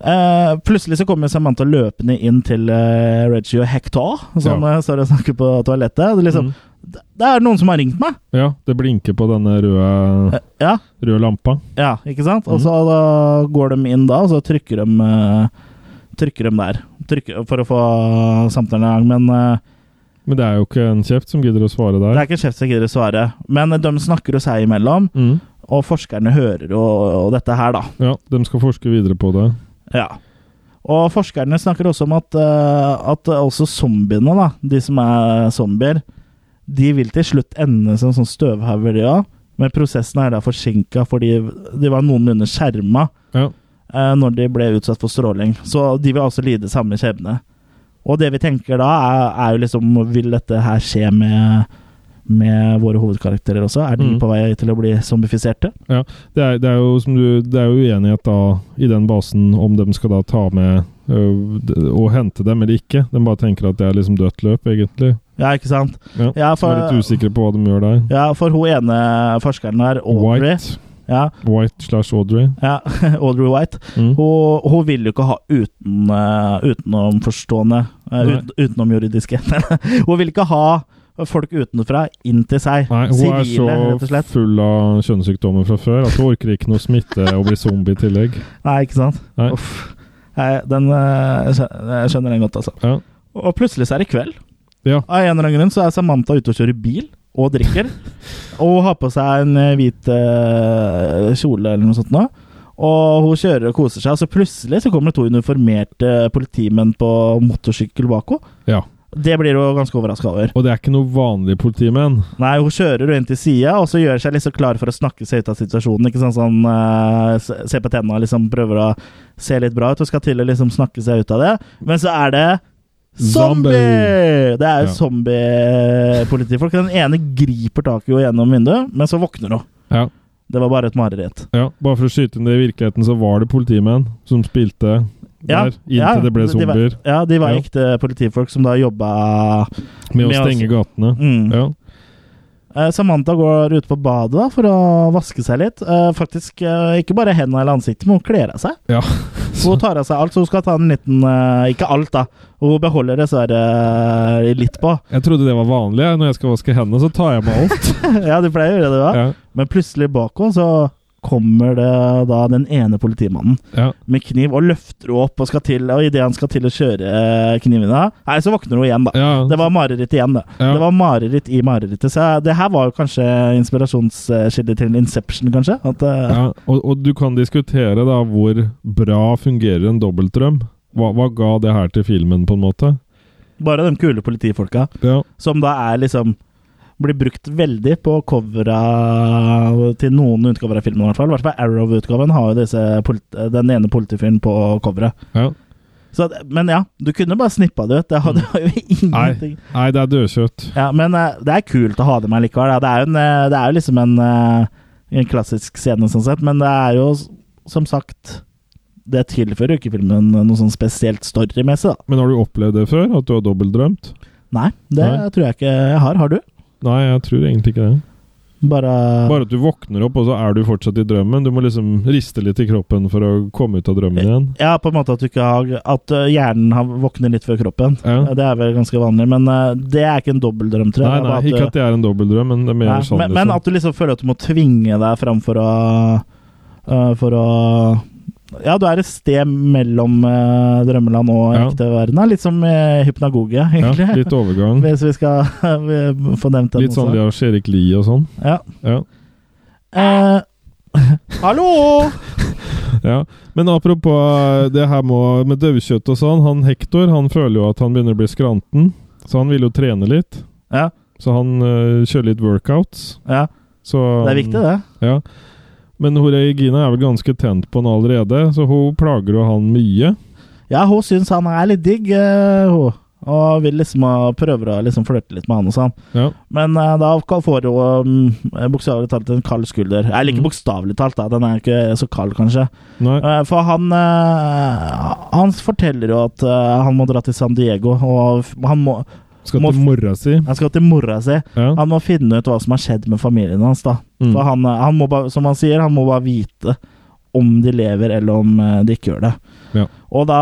Eh, plutselig så kommer Samantha løpende inn til eh, Reggie og Hector, som Ja. eh, står og snakker på toalettet. Det, er liksom, Mm. "D- det er noen som har ringt meg! ja, det blinker på denne røde, Eh, ja, røde lampa. ja, ikke sant? Og så da går de inn da, og så trykker de, eh, trykker de der. Trykker, for å få samtalen i gang. Men eh, Men det er jo ikke en kjeft som gidder å svare det der. er ikke en sjef som gidder å svare. Men eh, de snakker jo seg imellom, Mm. og forskerne hører jo og dette her, da. Ja, de skal forske videre på det. Ja. Og forskerne snakker også om at, eh, at også zombiene, da, de som er zombier, de vil til slutt ende som sånn støvhauger, de òg. Men prosessen er da forsinka fordi de var noenlunde skjerma Ja. eh, når de ble utsatt for stråling. Så de vil også lide samme skjebne. Og det vi tenker da, er, er jo liksom Vil dette her skje med, med våre hovedkarakterer også? Er de Mm. på vei til å bli zombifiserte? Ja, det er, det er jo som du, det er jo uenighet da i den basen om de skal da ta med ø, d- og hente dem eller ikke. De bare tenker at det er liksom dødt løp, egentlig. Ja, ikke sant? Ja, Ja, for, er litt usikre på hva de gjør der. Ja, for hun ene forskeren der, Audrey White. Ja, White slash Audrey. ja, Audrey White. Mm. Hun, hun vil jo ikke ha uten, eh, utenomforstående eh, Nei. ut, Utenomjuridiske. hun vil ikke ha folk utenfra inn til seg. Nei, hun Sivile, rett er og så slett. full av kjønnssykdommer fra før at hun orker ikke noe smitte og bli zombie i tillegg. Nei, ikke sant? Nei. Uff. Nei, den eh, skjø- Jeg skjønner den godt, altså. Ja. Og plutselig så er det kveld. Ja. Av en eller annen grunn så er Samantha ute og kjører bil. Og drikker. og har på seg en eh, hvit eh, kjole eller noe sånt nå. Og hun kjører og koser seg, og så plutselig så kommer det to uniformerte politimenn på eh, motorsykkel bak henne. ja. Det blir hun ganske overraska over. Og det er ikke noe vanlige politimenn. Nei, hun kjører jo inn til sida, og så gjør seg liksom klar for å snakke seg ut av situasjonen. ikke sant? Sånn, eh, se se på tenna og liksom prøver å se litt bra ut, og skal til å liksom snakke seg ut av det. Men så er det Zombie! zombie! Det er Ja. jo zombie-politifolk. Den ene griper taket jo gjennom vinduet, men så våkner hun. Ja, Det var bare et mareritt. ja. Bare for å skyte inn det i virkeligheten, så var det politimenn som spilte der, inntil det ble de var- zombier. Ja, de var Ja. ekte politifolk som da jobba Med å med å- stenge gatene. mm. Ja. Eh, Samantha går ut på badet da, for å vaske seg litt. Eh, Faktisk eh, ikke bare hendene eller ansiktet, men hun kler av seg. ja. Så hun tar av seg alt, så hun skal ta en liten eh, Ikke alt, da. Hun beholder dessverre eh, litt på. Jeg trodde det var vanlig. jeg. Når jeg skal vaske hendene, så tar jeg med alt. ja, du pleier å gjøre det, da. Ja, Men plutselig bak henne så kommer det da den ene politimannen ja. med kniv og løfter henne opp og skal til, og idet han skal til å kjøre eh, kniven av Nei, så våkner hun igjen, da. ja. Det var mareritt igjen, det. Ja. Det var mareritt i marerittet. Så det her var jo kanskje inspirasjonskilde til Inception, kanskje. At, eh, Ja, og, og du kan diskutere da hvor bra fungerer en dobbeltdrøm. Hva, hva ga det her til filmen, på en måte? Bare de kule politifolka, Ja, som da er liksom blir brukt veldig på covera til noen utgaver av filmen, i hvert fall. I hvert fall Arrow-utgaven har jo disse polit, den ene politifyren på coveret. ja. Så, det- men ja, du kunne bare snippa det ut. Det hadde jo ingenting Mm. Nei, det er dødkjøtt. Ja, men eh, det er kult å ha det med likevel. Da. Det, er jo en, eh, det er jo liksom en, eh, en klassisk scene, sånn sett, men det er jo, s- som sagt Det tilfører jo ikke filmen noe sånn spesielt storymessig, da. Men har du opplevd det før? At du har dobbeltdrømt? Nei, det Nei. tror jeg ikke jeg har. Har du? Nei, jeg tror egentlig ikke det. Bare, Bare at du våkner opp, og så er du fortsatt i drømmen. Du må liksom riste litt i kroppen for å komme ut av drømmen igjen. Ja, på en måte at du ikke har At eh, hjernen har våkner litt før kroppen. Ja. Eh, Det er vel ganske vanlig, men eh, det er ikke en dobbeltdrøm, tror Nei, jeg. Det er nei, bare at ikke du- at det er en dobbeltdrøm, men det er mer Nei, sånn. men, men liksom. at du liksom føler at du må tvinge deg fram for å øh, For å Ja, du er et sted mellom øh, drømmeland og Ja. ekte verden. da. Litt som øh, hypnagoge, egentlig. ja, Litt overgang. Hvis vi skal vi få nevnt den Litt sånn de også. har Sherik Lie og sånn. Ja. Ja. Eh, hallo! Ja, Men apropos eh, det her med, med daukjøtt og sånn. Han Hector han føler jo at han begynner å bli skranten, så han vil jo trene litt. Ja. Så han øh, kjører litt workouts. Ja, Så, det er viktig, det. Ja. Men hun Regina er vel ganske tent på han allerede, så hun plager jo han mye. Ja, hun syns han er litt digg, øh, hun. Og vil liksom ha- prøver å liksom flørte litt med han og sånn. Ja. Men eh, da kan- får hun um, bokstavelig talt en kald skulder. Eller ikke Mm. bokstavelig talt, da. den er ikke så kald, kanskje. Nei. Eh, for han eh, Han forteller jo at eh, han må dra til San Diego, og f- han, må, Skal må- til mora si. han skal til mora si. Ja. Han må finne ut hva som har skjedd med familien hans, da. Mm. For han, eh, han må bare, som han sier, han må bare vite om de lever, eller om eh, de ikke gjør det. Ja. Og da,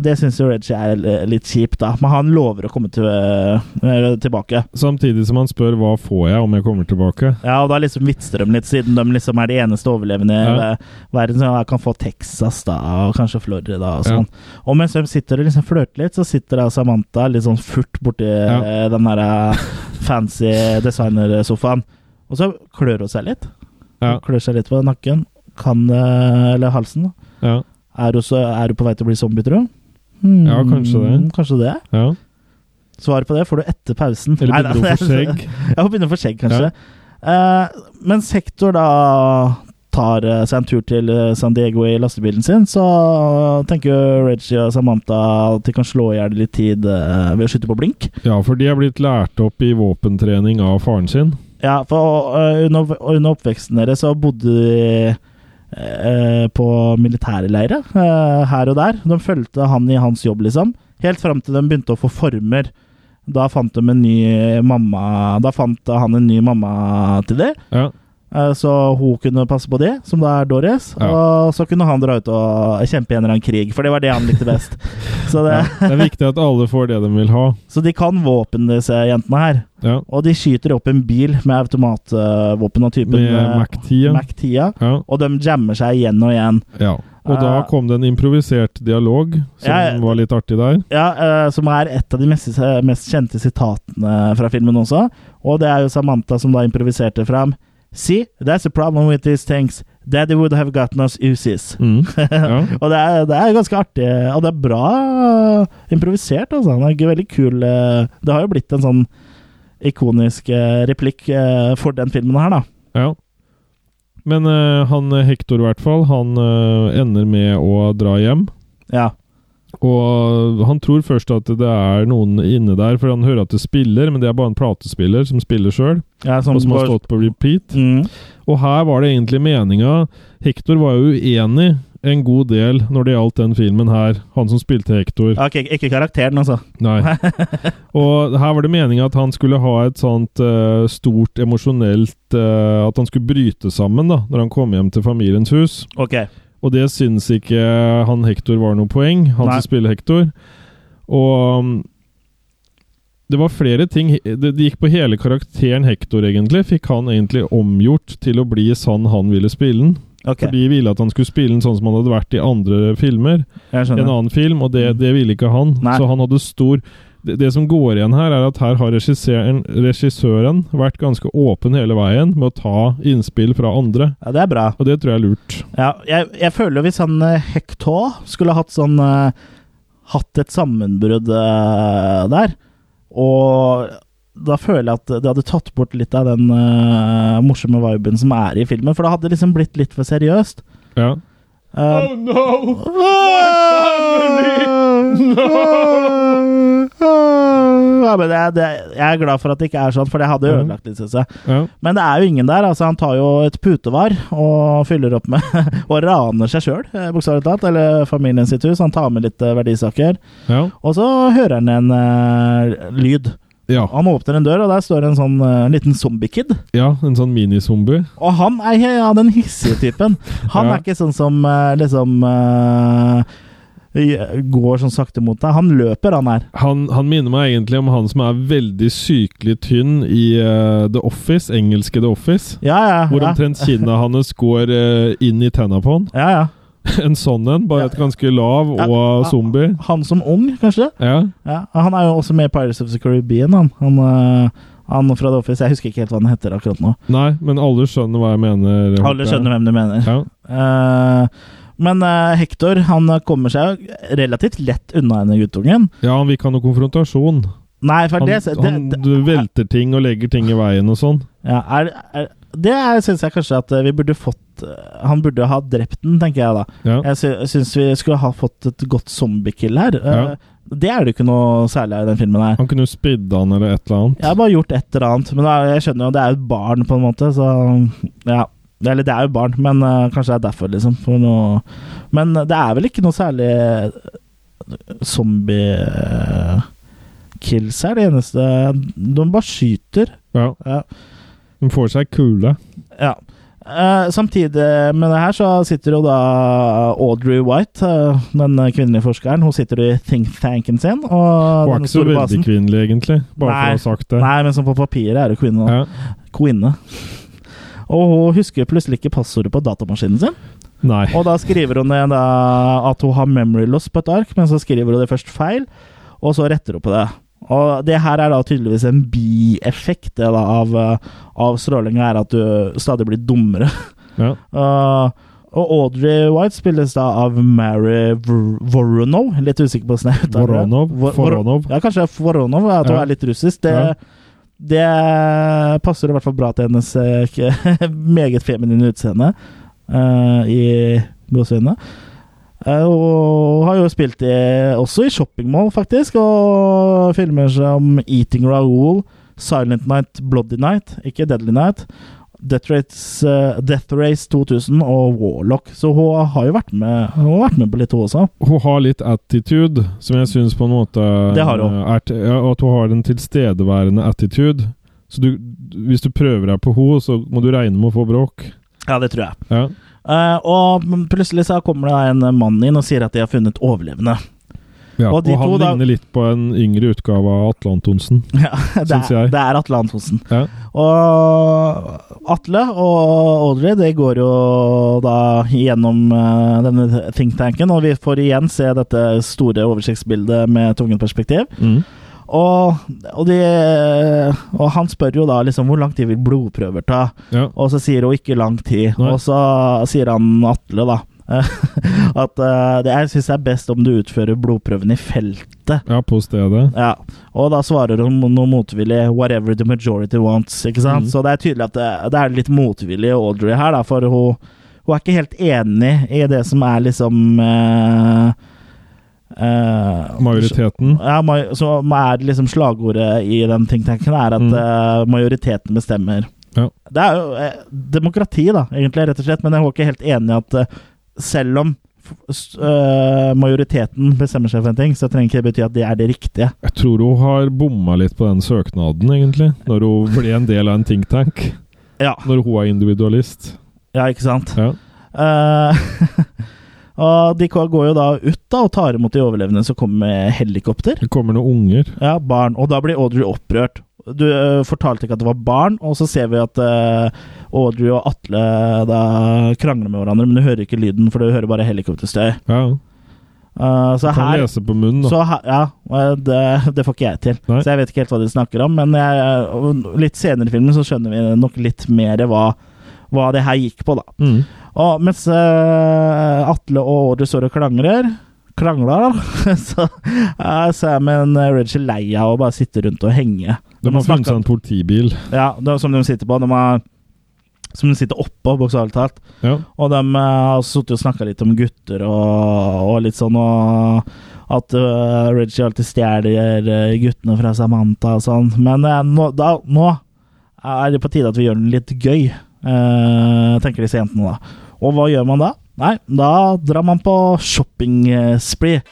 Det syns jo Reggie er eh, litt kjipt, da. Men han lover å komme til, eh, tilbake. Samtidig som han spør hva får jeg om jeg kommer tilbake. Ja, og da liksom vitser de litt, siden de liksom er de eneste overlevende i Ja. ver- verden. Så jeg kan få Texas da, og kanskje Florida og sånn. Og mens de sitter og liksom flørter litt, så sitter da Samantha litt sånn furt borti Ja. eh, den der eh, fancy designersofaen. Og så klør hun seg litt. Ja, Hun Klør seg litt på nakken. Kan eh, Eller halsen. da. ja, Er hun, så, er hun på vei til å bli zombie, tror du? Hmm, Ja, kanskje det. Kanskje det. ja. Svaret på det får du etter pausen. Eller Nei, begynner hun å få nei, skjegg. jeg får begynne for skjegg, kanskje. Eh, mens Hector da tar eh, seg en tur til eh, San Diego i lastebilen sin, så eh, tenker jo Reggie og Samantha at de kan slå i hjel litt tid eh, ved å skyte på blink. Ja, for de er blitt lært opp i våpentrening av faren sin. Ja, for eh, under, under oppveksten deres så bodde de eh, på militærleire eh, her og der. De fulgte han i hans jobb, liksom. Helt fram til de begynte å få former. Da fant de en ny mamma Da fant han en ny mamma til dem. Ja, Eh, Så hun kunne passe på de, som da er Doris. Ja. Og så kunne han dra ut og kjempe i en eller annen krig, for det var det han likte best. så, det, ja. Det er viktig at alle får det de vil ha. så de kan våpen, disse jentene her. Ja, Og de skyter opp en bil med automatvåpen av typen Med eh, Mac-10. Mac-10, ja, og de jammer seg igjen og igjen. ja. Og da Eh, kom det en improvisert dialog som jeg- var litt artig der. Ja, eh, Som er et av de mest, eh, mest kjente sitatene fra filmen også. Og det er jo Samantha som da improviserte fram See, that's the problem with these things. Daddy would have gotten us Uzis. Mm. Ja. og det er, det er ganske artig, og det er bra improvisert. Altså. Han er ikke veldig kul. eh, Det har jo blitt en sånn ikonisk eh, replikk eh, for den filmen her, da. Ja. Men eh, han eh, Hector, i hvert fall, han eh, ender med å dra hjem. Ja. Og han tror først at det er noen inne der, for han hører at det spiller, men det er bare en platespiller som spiller sjøl, ja og som har går- stått på repeat. sånn- Mm. Og her var det egentlig meninga Hector var jo uenig en god del når det gjaldt den filmen her. Han som spilte Hector. Ok, ikke karakteren, altså. Nei. Og her var det meninga at han skulle ha et sånt eh, stort emosjonelt eh, At han skulle bryte sammen da, når han kom hjem til familiens hus. Ok. Og det syns ikke han Hector var noe poeng, han Nei. som spiller Hector. Og um, det var flere ting Det det gikk på hele karakteren Hector, egentlig. Fikk han egentlig omgjort til å bli sann han ville spille den. ok, For de ville at han skulle spille den sånn som han hadde vært i andre filmer. Jeg En skjønner. Mm. annen film, og det, det ville ikke han. Nei. Så han hadde stor det, det som går igjen her, er at her har regissøren, regissøren vært ganske åpen hele veien med å ta innspill fra andre. Ja, det er bra. Og det tror jeg er lurt. Ja, jeg, jeg føler hvis han eh, Hector skulle hatt sånn eh, Hatt et sammenbrudd eh, der, og da føler jeg at det hadde tatt bort litt av den eh, morsomme viben som er i filmen, for det hadde liksom blitt litt for seriøst. Ja. Eh, ja, men det, det, jeg er glad for at det ikke er sånn, for det hadde Mhm. ødelagt litt, syns jeg. Ja. Men det er jo ingen der. altså Han tar jo et putevar og fyller opp med Og raner seg sjøl, bokstavelig talt. Eller familien sitt hus. Han tar med litt eh, verdisaker. Ja. Og så hører han en eh, lyd. Ja. Han åpner en dør, og der står en sånn eh, liten zombie-kid. ja, en sånn minizombie. Og han er he- av den hissige typen. Han Ja. er ikke sånn som eh, liksom eh, i- Går sånn sakte mot deg. Han løper, han her. Han, han minner meg egentlig om han som er veldig sykelig tynn i eh, The Office, engelske The Office. Ja, ja. Hvor ja. omtrent kinnet hans går eh, inn i tenna på han. ja, ja. En sånn en, bare et ganske lav Ja. og eh, zombie. Han som ung, kanskje? Ja. Ja, han er jo også med i Pirates of the Caribbean, han. Han, øh, han fra The Office. Jeg husker ikke helt hva han heter akkurat nå. Nei, men alle skjønner hva jeg mener. Alle skjønner hvem du mener. Ja. Eh, men øh, Hector han kommer seg jo relativt lett unna denne guttungen. ja, han vil ikke ha noe konfrontasjon. Nei, for Han, det, det, han det, velter ting og legger ting i veien og sånn. ja, er, er, det syns jeg kanskje at øh, vi burde fått øh, Han burde ha drept den, tenker jeg da. Ja. Jeg sy- syns vi skulle ha fått et godt zombie-kill her. Eh, Ja. Det er det jo ikke noe særlig av i den filmen her. Han kunne jo spidde han eller et eller annet. Jeg har bare gjort et eller annet, men da- jeg skjønner jo det er jo et barn, på en måte, så ja. Eller det er jo barn, men eh, kanskje det er derfor, liksom. For noe. Men det er vel ikke noe særlig eh, zombie-kills eh, her. Det eneste De bare skyter. Ja. Ja. Han får seg kule. ja. Eh, samtidig med det her så sitter jo da Audrey White, eh, den kvinnelige forskeren, hun sitter i think tanken sin. Og Hun er den ikke så store veldig basen. kvinnelig, egentlig. Bare Nei. for å ha sagt det. Nei, men som på papiret er hun kvinne. da. Ja. Quinne. Og hun husker plutselig ikke passordet på datamaskinen sin. Nei. Og da skriver hun ned da, at hun har memory loss på et ark, men så skriver hun det først feil, og så retter hun på det. Og det her er da tydeligvis en bieffekt det da, av, eh, av strålinga, er at du stadig blir dummere. Ja. Uh, og Audrey White spilles da av Mary Vor- Voronov. Litt usikker på hvordan jeg uttaler det. Voronov? Vor- Vor- Voronov? Ja, kanskje Voronov. At hun Ja. er litt russisk. Det, Ja. det passer i hvert fall bra til hennes eh, k- meget feminine utseende eh, i gåseøynene. Eh, og har jo spilt i, også i shoppingmall, faktisk, og filmer som Eating Raoul, Silent Night, Bloody Night, ikke Deadly Night, Death Race, eh, Death Race 2000 og Warlock. Så hun har jo vært med, hun har vært med på litt, hun også. Hun har litt attitude, som jeg syns på en måte eh, Det har hun. Er, til- ja, og at hun har en tilstedeværende attitude. Så du, hvis du prøver deg på henne, så må du regne med å få bråk. Ja, det tror jeg. Ja. Eh, og plutselig så kommer det da en mann inn og sier at de har funnet overlevende. Ja. Og Og, de han to da- ligner litt på en yngre utgave av Atle Antonsen. Ja, det, Syns er, jeg. det er Atle Antonsen. Ja. Og Atle og Audrey det går jo da gjennom eh, denne think tanken, og vi får igjen se dette store oversiktsbildet med tvungen perspektiv. Mm. Og, og, de, og han spør jo da liksom hvor lang tid vil blodprøver ta, Ja. og så sier hun ikke lang tid. Nei. Og så sier han Atle, da, at eh, det, jeg syns det er best om du utfører blodprøven i feltet. ja, på stedet. Ja, Og da svarer hun noe motvillig 'whatever the majority wants'. ikke sant? Mhm. Så det er tydelig at det, det er litt motvillig Audrey her, da, for hun, hun er ikke helt enig i det som er liksom eh, eh, Majoriteten. ja, ma- så er det liksom slagordet i den think-tanken er at Mm. eh, majoriteten bestemmer. Ja. Det er jo eh, demokrati, da, egentlig, rett og slett, men jeg var ikke helt enig i at eh, selv om f- s- eh, majoriteten bestemmer seg for en ting, så trenger ikke det bety at det er det riktige. Jeg tror hun har bomma litt på den søknaden, egentlig. Når hun ble en del av en think tank. Ja, Når hun er individualist. ja ikke sant? Ja. Eh, og de går går jo da ut da og tar imot de overlevende som kommer med helikopter. Det kommer noen unger. Ja, barn. Og da blir Audrey opprørt. Du ø, fortalte ikke at det var barn, og så ser vi at ø, Audrey og Atle da krangler med hverandre, men du hører ikke lyden, for du hører bare helikopterstøy. Ja, Uh, så Kan her lese på munnen, da. så her, ja, ø, det, det får ikke jeg til, Nei. så jeg vet ikke helt hva de snakker om. Men jeg, ø, litt senere i filmen så skjønner vi nok litt mer hva, hva det her gikk på, da. Mm. Og mens eh, Atle og Audrey står og klangrer Krangler, da. Så eh, er Sam og Reggie lei av å bare sitte rundt og henge. De man har funnet snakker- seg en politibil. Ja, det er som de sitter på. De har, som de sitter oppå, bokstavelig talt. Ja. Og de eh, har sittet og snakka litt om gutter og, og litt sånn og At eh, Reggie alltid stjeler eh, guttene fra Samantha og sånn. Men eh, nå, da, nå er det på tide at vi gjør den litt gøy, eh, tenker disse jentene da. Og hva gjør man da? Nei, da drar man på eh, shopping-spree.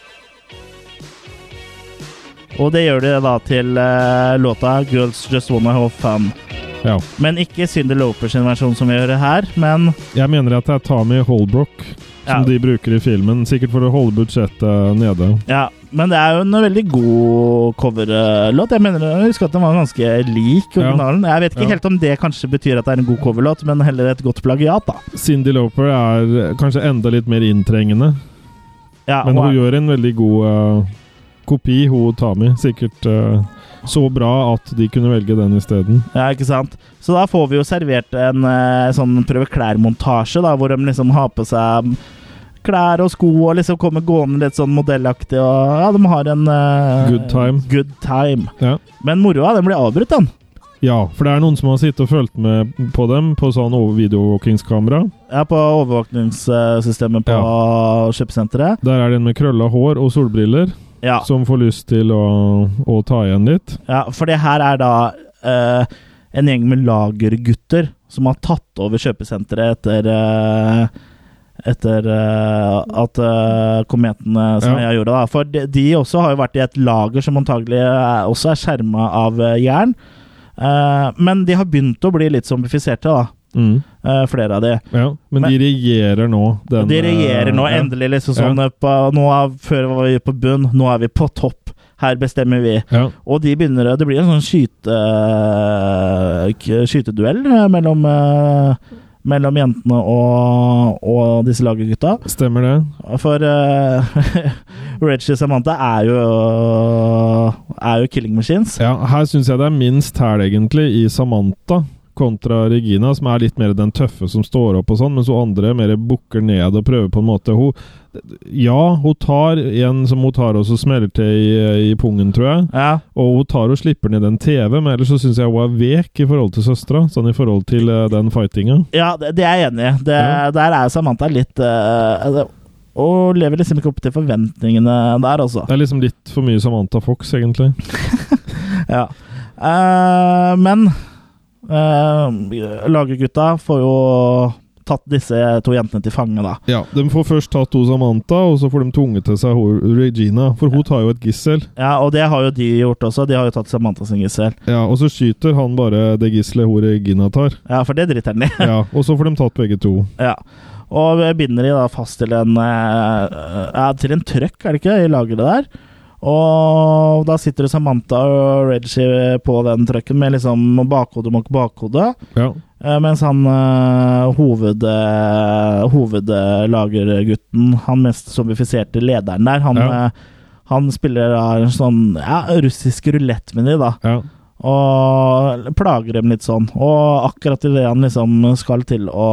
Og det gjør de da til eh, låta 'Girls Just Wanna Have Fun'. ja. Men ikke Cyndi Lopers versjon som vi gjør her, men Jeg mener at det er Tommy Holbrook Ja. som de bruker i filmen. Sikkert for å holde budsjettet nede. Ja, men det er jo en veldig god coverlåt. Jeg mener, jeg husker at den var ganske lik originalen. Jeg vet ikke Ja. helt om det kanskje betyr at det er en god coverlåt, men heller et godt plagiat, da. Cindy Loper er kanskje enda litt mer inntrengende, Ja, men og- hun gjør en veldig god eh, kopi, hun Tami. Sikkert eh, så bra at de kunne velge den isteden. ja, ikke sant? Så da får vi jo servert en eh, sånn prøveklærmontasje, da, hvor de liksom har på seg klær og sko og liksom kommer gående litt sånn modellaktig, og ja, de har en eh, Good time. Good time. Ja. Men moroa, den blir avbrutt, den. ja, for det er noen som har sittet og fulgt med på dem på sånn over- videoovervåkingskamera. Ja, på overvåkningssystemet på kjøpesenteret. Der er det en med krølla hår og solbriller Ja. som får lyst til å, å ta igjen litt. Ja, for det her er da eh, en gjeng med lagergutter som har tatt over kjøpesenteret etter eh, etter eh, at eh, kometene som Ja. jeg gjorde, da. For de, de også har jo vært i et lager som antagelig er, også er skjerma av eh, jern. Eh, men de har begynt å bli litt zombifiserte, da. Mm. eh, flere av de. Ja, men, Men- de regjerer nå. Den, de regjerer nå, eh, ja. endelig. liksom sånn eh, på, nå er, Før var vi på bunn, nå er vi på topp. Her bestemmer vi. Ja. Og de begynner Det blir en sånn skyte, k- skyteduell eh, mellom eh, mellom jentene og, og disse lagergutta. Stemmer det. For eh, Reggie Samantha er jo er jo killing machines. Ja, her syns jeg det er minst hæl, egentlig, i Samantha kontra Regina, som er litt mer den tøffe som står opp og sånn, mens hun andre mer bukker ned og prøver på en måte Hun Ja, hun tar en som hun tar og så smeller til i, i pungen, tror jeg. Ja, Og hun tar og slipper ned en TV, men ellers så syns jeg hun er vek i forhold til søstera. Sånn i forhold til eh, den fightinga. ja det, det er jeg enig i. Det- Ja. Der er Samantha litt eh, det- Og lever liksom ikke opp til forventningene der, altså. Det er liksom litt for mye Samantha Fox, egentlig. Ja. Eh, men eh, lagergutta får jo tatt disse to jentene til fange, da. Ja, De får først tatt hun Samantha, og så får de tunge til seg hun Regina. For hun tar jo et gissel. Ja, Og det har jo de gjort også. De har jo tatt Samantha sin gissel. Ja, Og så skyter han bare det gisselet hun Regina tar. Ja, for det driter den i. Ja, Og så får de tatt begge to. ja. Og vi binder de da fast til en eh, ja, Til en trøkk, er det ikke, i lageret der. Og da sitter jo Samantha og Reggie på den trøkken med liksom bakhode mot bakhode. Ja, Eh, Mens han eh, hoved, eh, hovedlagergutten, han mest zombifiserte lederen der, han, Ja. eh, Han spiller da en sånn ja, russisk rulettmeny, da. Ja. Og plager dem litt sånn. Og akkurat idet han liksom skal til å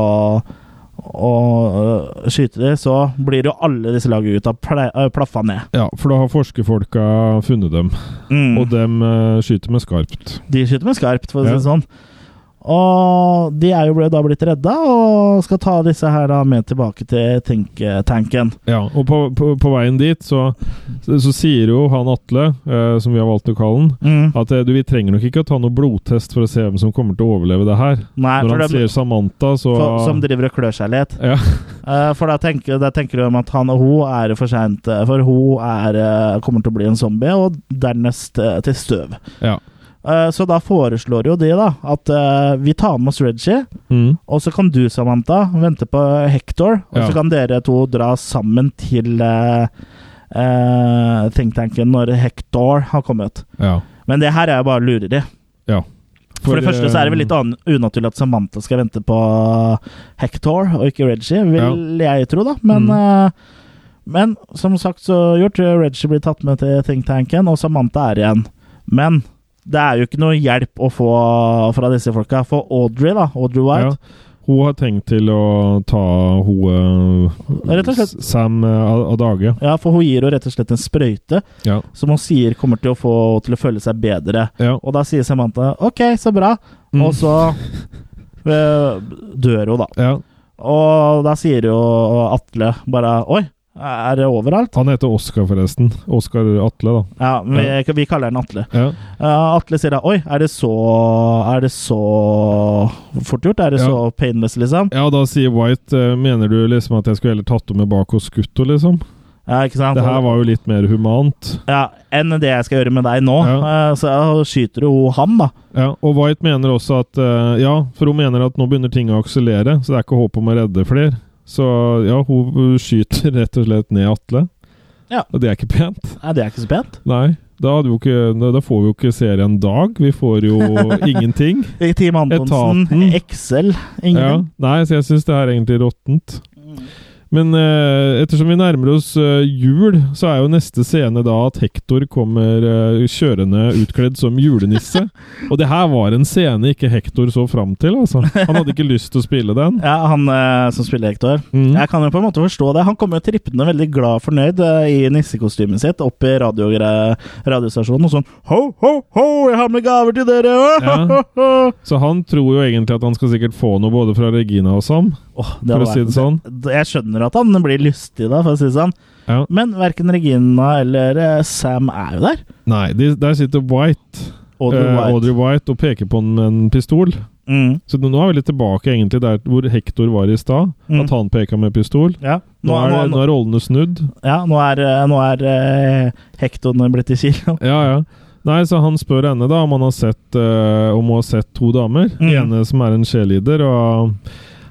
å øh, skyte dem, så blir jo alle disse lagene ut av ple- øh, plaffa ned. ja, for da har forskerfolka funnet dem, Mm. og dem eh, skyter med skarpt. De skyter med skarpt, for å si Ja. det sånn. Og de er jo ble- da blitt redda, og skal ta disse her da med tilbake til tenketanken. Ja, og på, på, på veien dit så, så, så sier jo han Atle, eh, som vi har valgt å kalle han, Mm. at eh, du, vi trenger nok ikke å ta noe blodtest for å se hvem som kommer til å overleve det her. Nei, for Når han dem, sier Samantha, så for, som driver og klør seg litt. ja, Eh, for da tenker, da tenker du om at han og hun er for seint, eh, for hun er, eh, kommer til å bli en zombie, og dernest eh, til støv. ja. Eh, så da foreslår jo de da at eh, vi tar med oss Reggie, Mm, og så kan du, Samantha, vente på Hector, og Ja. så kan dere to dra sammen til uh, think tanken når Hector har kommet. ja. Men det her er jo bare lureri. Ja. For, det første så er det vel litt an unaturlig at Samantha skal vente på Hector og ikke Reggie, vil jeg tro, da. Men, Mm. eh, men som sagt så gjort, Reggie blir tatt med til think tanken, og Samantha er igjen. Men det er jo ikke noe hjelp å få fra disse folka. For Audrey, da, Audrey White, Ja. Hun har tenkt til å ta hun eh, Rett og slett. Sam eh, av av dage. Ja, for hun gir jo rett og slett en sprøyte Ja. som hun sier kommer til å få henne til å føle seg bedre. Ja. Og da sier Samantha OK, så bra, Mm. og så eh, dør hun, da. ja. Og da sier jo Atle bare Oi, er det overalt? Han heter Oskar, forresten. Oskar Atle, da. Ja, men vi, vi kaller den Atle. Ja. Ja, Atle sier da Oi, er det så Er det så fort gjort? Er det Ja. så painless, liksom? ja, da sier White eh, Mener du liksom at jeg skulle heller tatt henne med bak og skutt henne, liksom? Ja, ikke sant? Det her var jo litt mer humant. ja, enn det jeg skal gjøre med deg nå. Ja. Eh, Så skyter jo han, da. Ja, og White mener også at eh, Ja, for hun mener at nå begynner ting å akselere, så det er ikke håp om å redde flere. Så ja, hun skyter rett og slett ned Atle. Ja. Og det er ikke pent. Nei, det er ikke så pent. Nei, da, hadde vi jo ikke, da, da får vi jo ikke serie en dag. Vi får jo ingenting. Eh, Team Antonsen, Etaten. Mm. Excel, Ja. ingenting. Nei, så jeg syns det her er egentlig råttent. Mm. Men eh, ettersom vi nærmer oss eh, jul, så er jo neste scene da at Hector kommer eh, kjørende utkledd som julenisse. Og det her var en scene ikke Hector så fram til, altså. Han hadde ikke lyst til å spille den. Ja, han eh, som spiller Hector. Mm. Jeg kan jo på en måte forstå det. Han kommer jo trippende veldig glad og fornøyd eh, i nissekostymet sitt opp i radio radiostasjonen og sånn Ho, ho, ho, jeg har med gaver til dere! Ho, Ja. ho, ho. Så han tror jo egentlig at han skal sikkert få noe både fra Regina og Sam, Åh, det for å var- si det sånn. Jeg skjønner at han blir lystig da, for å si det sånn. Ja. Men verken Regina eller eh, Sam er jo der. Nei, de, der sitter White. Audrey eh, White. Audrey White og peker på en, en pistol. Mm. Så nå er vi litt tilbake egentlig der hvor Hector var i stad. Mm. At han peka med pistol. Ja. Nå er, det- nå er rollene snudd. ja, nå er, eh, nå er eh, Hector blitt i kilo. Ja, ja. Nei, så han spør henne da om han har sett eh, Om hun har sett to damer. Den Mm. ene som er en cheerleader. Og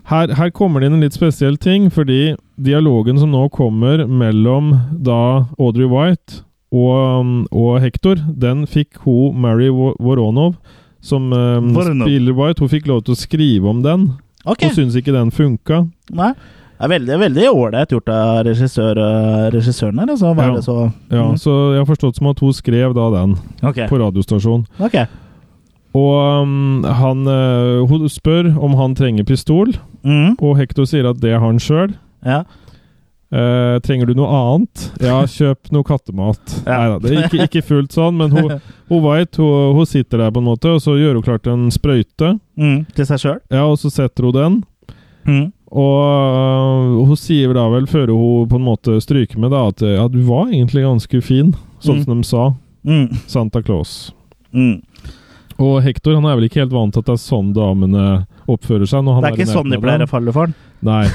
her, her kommer det inn en litt spesiell ting, fordi dialogen som nå kommer mellom da Audrey White og, og Hector, den fikk hun Mary Wo- Voronov, som eh, Voronov. spiller White, hun fikk lov til å skrive om den. Ok. Hun syntes ikke den funka. Nei. Det er veldig veldig ålreit gjort av regissør, eh, regissøren her. Altså, var Ja. det så Ja, Mhm. Så jeg har forstått som at hun skrev da den Ok. på radiostasjon. ok. Og um, han, eh, hun spør om han trenger pistol, Mm. og Hector sier at det har han sjøl. Ja. Eh, trenger du noe annet? Ja, kjøp noe kattemat. Ja. Neida, det er ikke, ikke fullt sånn, men hun, hun veit. Hun, hun sitter der på en måte, og så gjør hun klart en sprøyte. Mm. Til seg sjøl. Ja, og så setter hun den. Mm. Og øh, hun sier da vel, før hun på en måte stryker med, da, at ja, du var egentlig ganske fin, sånn Mhm. som de sa. Mm. Santa Claus. Mm. Og Hector han er vel ikke helt vant til at det er sånn damene oppfører seg. Når han Det er i ikke sånn de nærheten av pleier dem. å falle for den. Nei.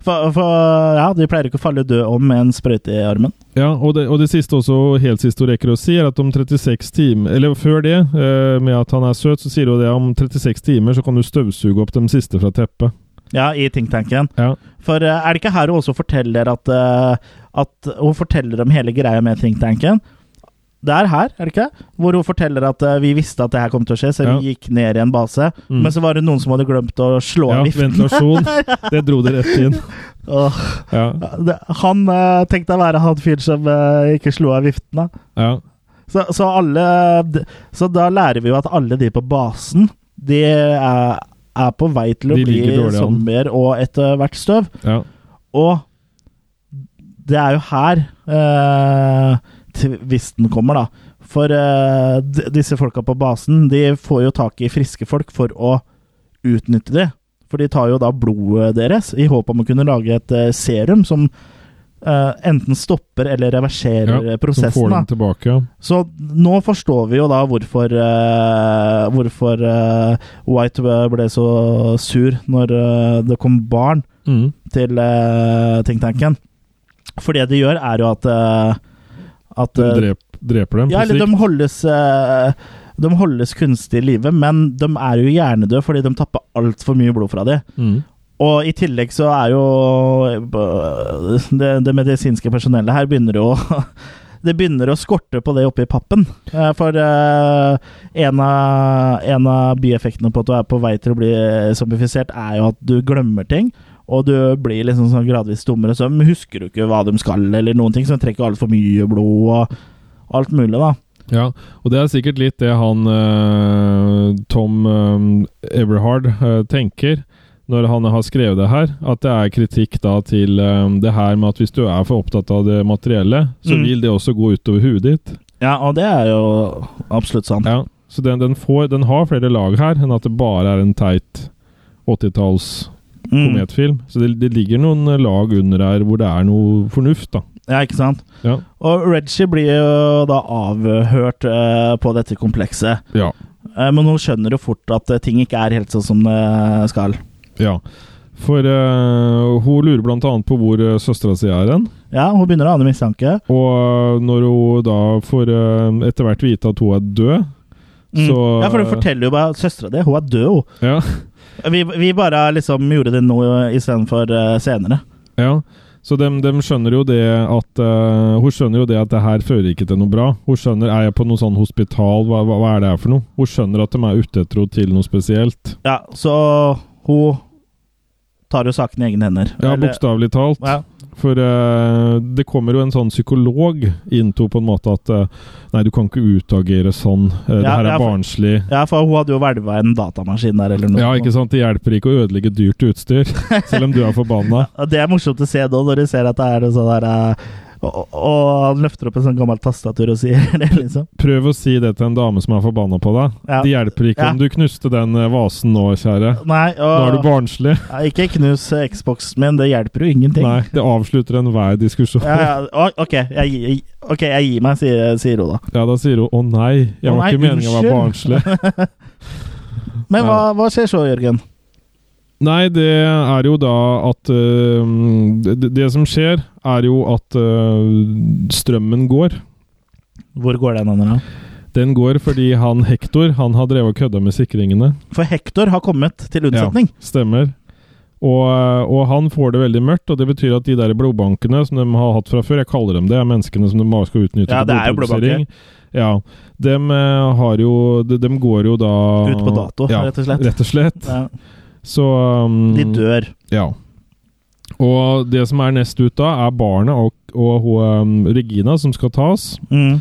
For, for ja, de pleier ikke å falle død om med en sprøyte i armen. Ja, og det, og det siste også, helt siste hun rekker å si, er at om 36 timer Eller før det, eh, med at han er søt, så sier hun det om 36 timer så kan du støvsuge opp dem siste fra teppet. Ja, i think tanken. Ja. For eh, er det ikke her hun også forteller at, eh, at Hun forteller om hele greia med think tanken. Det er her, er det ikke? Hvor hun forteller at eh, vi visste at det her kom til å skje, så Ja. vi gikk ned i en base. Mm. Men så var det noen som hadde glemt å slå Ja, av viften. ventilasjon. Det dro det rett inn. Åh, Ja, det, han eh, tenkte å være han fyren som eh, ikke slo av viften, da. ja. Så, så alle d- Så da lærer vi jo at alle de på basen, de er, er på vei til å De bli ligger dårlig an. zombier og etter hvert støv. ja. Og det er jo her eh, tvisten kommer, da. For eh, d- disse folka på basen, de får jo tak i friske folk for å utnytte de. For de tar jo da blodet deres i håp om å kunne lage et eh, serum som eh, enten stopper eller ja. reverserer Som får prosessen. Da. den tilbake, ja. Så nå forstår vi jo da hvorfor eh, Hvorfor eh, White ble så sur når eh, det kom barn Mm. til uh, Think Tanken. For det de gjør, er jo at eh, At De eh, drep, dreper dem. Ja, eller de holdes eh, De holdes kunstig i live, men de er jo hjernedøde fordi de tapper altfor mye blod fra dem. Mm. Og i tillegg så er jo det, det medisinske personellet her begynner jo å det begynner å skorte på det oppi pappen. Eh, For eh, en av, en av bieffektene på at du er på vei til å bli zombifisert, er jo at du glemmer ting. Og du blir liksom sånn gradvis dummere, så husker du ikke hva de skal, eller noen ting. Så de trekker altfor mye blod og alt mulig, da. Ja, og det er sikkert litt det han eh, Tom eh, Everhard eh, tenker når han har skrevet det her, at det er kritikk da til eh, det her med at hvis du er for opptatt av det materielle, så Mm. vil det også gå utover huet ditt. Ja, og det er jo absolutt sant. Ja, så den, den, får, den har flere lag her enn at det bare er en teit 80-talls Mm. kometfilm. Så det, det ligger noen lag under her hvor det er noe fornuft, da. ja ikke sant? Ja. Og Reggie blir jo da avhørt eh, på dette komplekset. ja. Eh, men hun skjønner jo fort at eh, ting ikke er helt sånn som det skal. ja. For eh, hun lurer blant annet på hvor uh, søstera si er hen. Ja, hun begynner å ane mistanke. Og når hun da får eh, etter hvert vite at hun er død, Mm. så ja, for hun forteller jo bare at søstera di, hun er død, hun. Ja, Vi, vi bare liksom gjorde det nå istedenfor uh, senere. ja. Så dem, dem skjønner jo det at eh, Hun skjønner jo det at det her fører ikke til noe bra. Hun skjønner Er jeg på noe sånn hospital? Hva, hva, hva er det her for noe? Hun skjønner at de er ute etter henne til noe spesielt. Ja, så hun tar jo saken i egne hender. Ja, Eller- bokstavelig talt. Ja. For eh, det kommer jo en sånn psykolog inn til henne på en måte at eh, Nei, du kan ikke utagere sånn. Eh, det Ja, her er ja, for- barnslig. ja, for hun hadde jo hvelva en datamaskin der, eller noe. Ja, ikke sant? Det hjelper ikke å ødelegge dyrt utstyr, selv om du er forbanna. Og Det er morsomt å se nå, når du ser at det er noe sånn der eh, og, og han løfter opp en sånn gammel tastatur og sier det, liksom. Prøv å si det til en dame som er forbanna på deg. Ja. Det hjelper ikke Ja. om du knuste den eh, vasen nå, kjære. Nei, Nå er og du barnslig. Ja, Ikke knus eh, Xboxen min, det hjelper jo ingenting. Nei, det avslutter enhver diskusjon. Ja, Ja, ja, å, ok, jeg, gi- ok, jeg gir meg, sier, sier hun da. da sier hun 'å nei, jeg Å var nei, ikke meningen å være barnslig'. Men hva, hva skjer så, Jørgen? Nei, det er jo da at eh, det, det som skjer, er jo at eh, strømmen går. Hvor går den andre? Den går fordi han Hector, han har drevet og kødda med sikringene. For Hector har kommet til unnsetning. Ja, stemmer. Og, og han får det veldig mørkt, og det betyr at de der blodbankene som de har hatt fra før, jeg kaller dem det, er menneskene som de bare skal utnytte Ja, til det er jo blodprodusering. Ja, dem eh, har jo de, dem går jo da Ut på dato, ja, rett og slett. Rett og slett. Ja, Så um, de dør. Ja. Og det som er nest ut da, er barnet og, og hun, um, Regina som skal tas. Mm.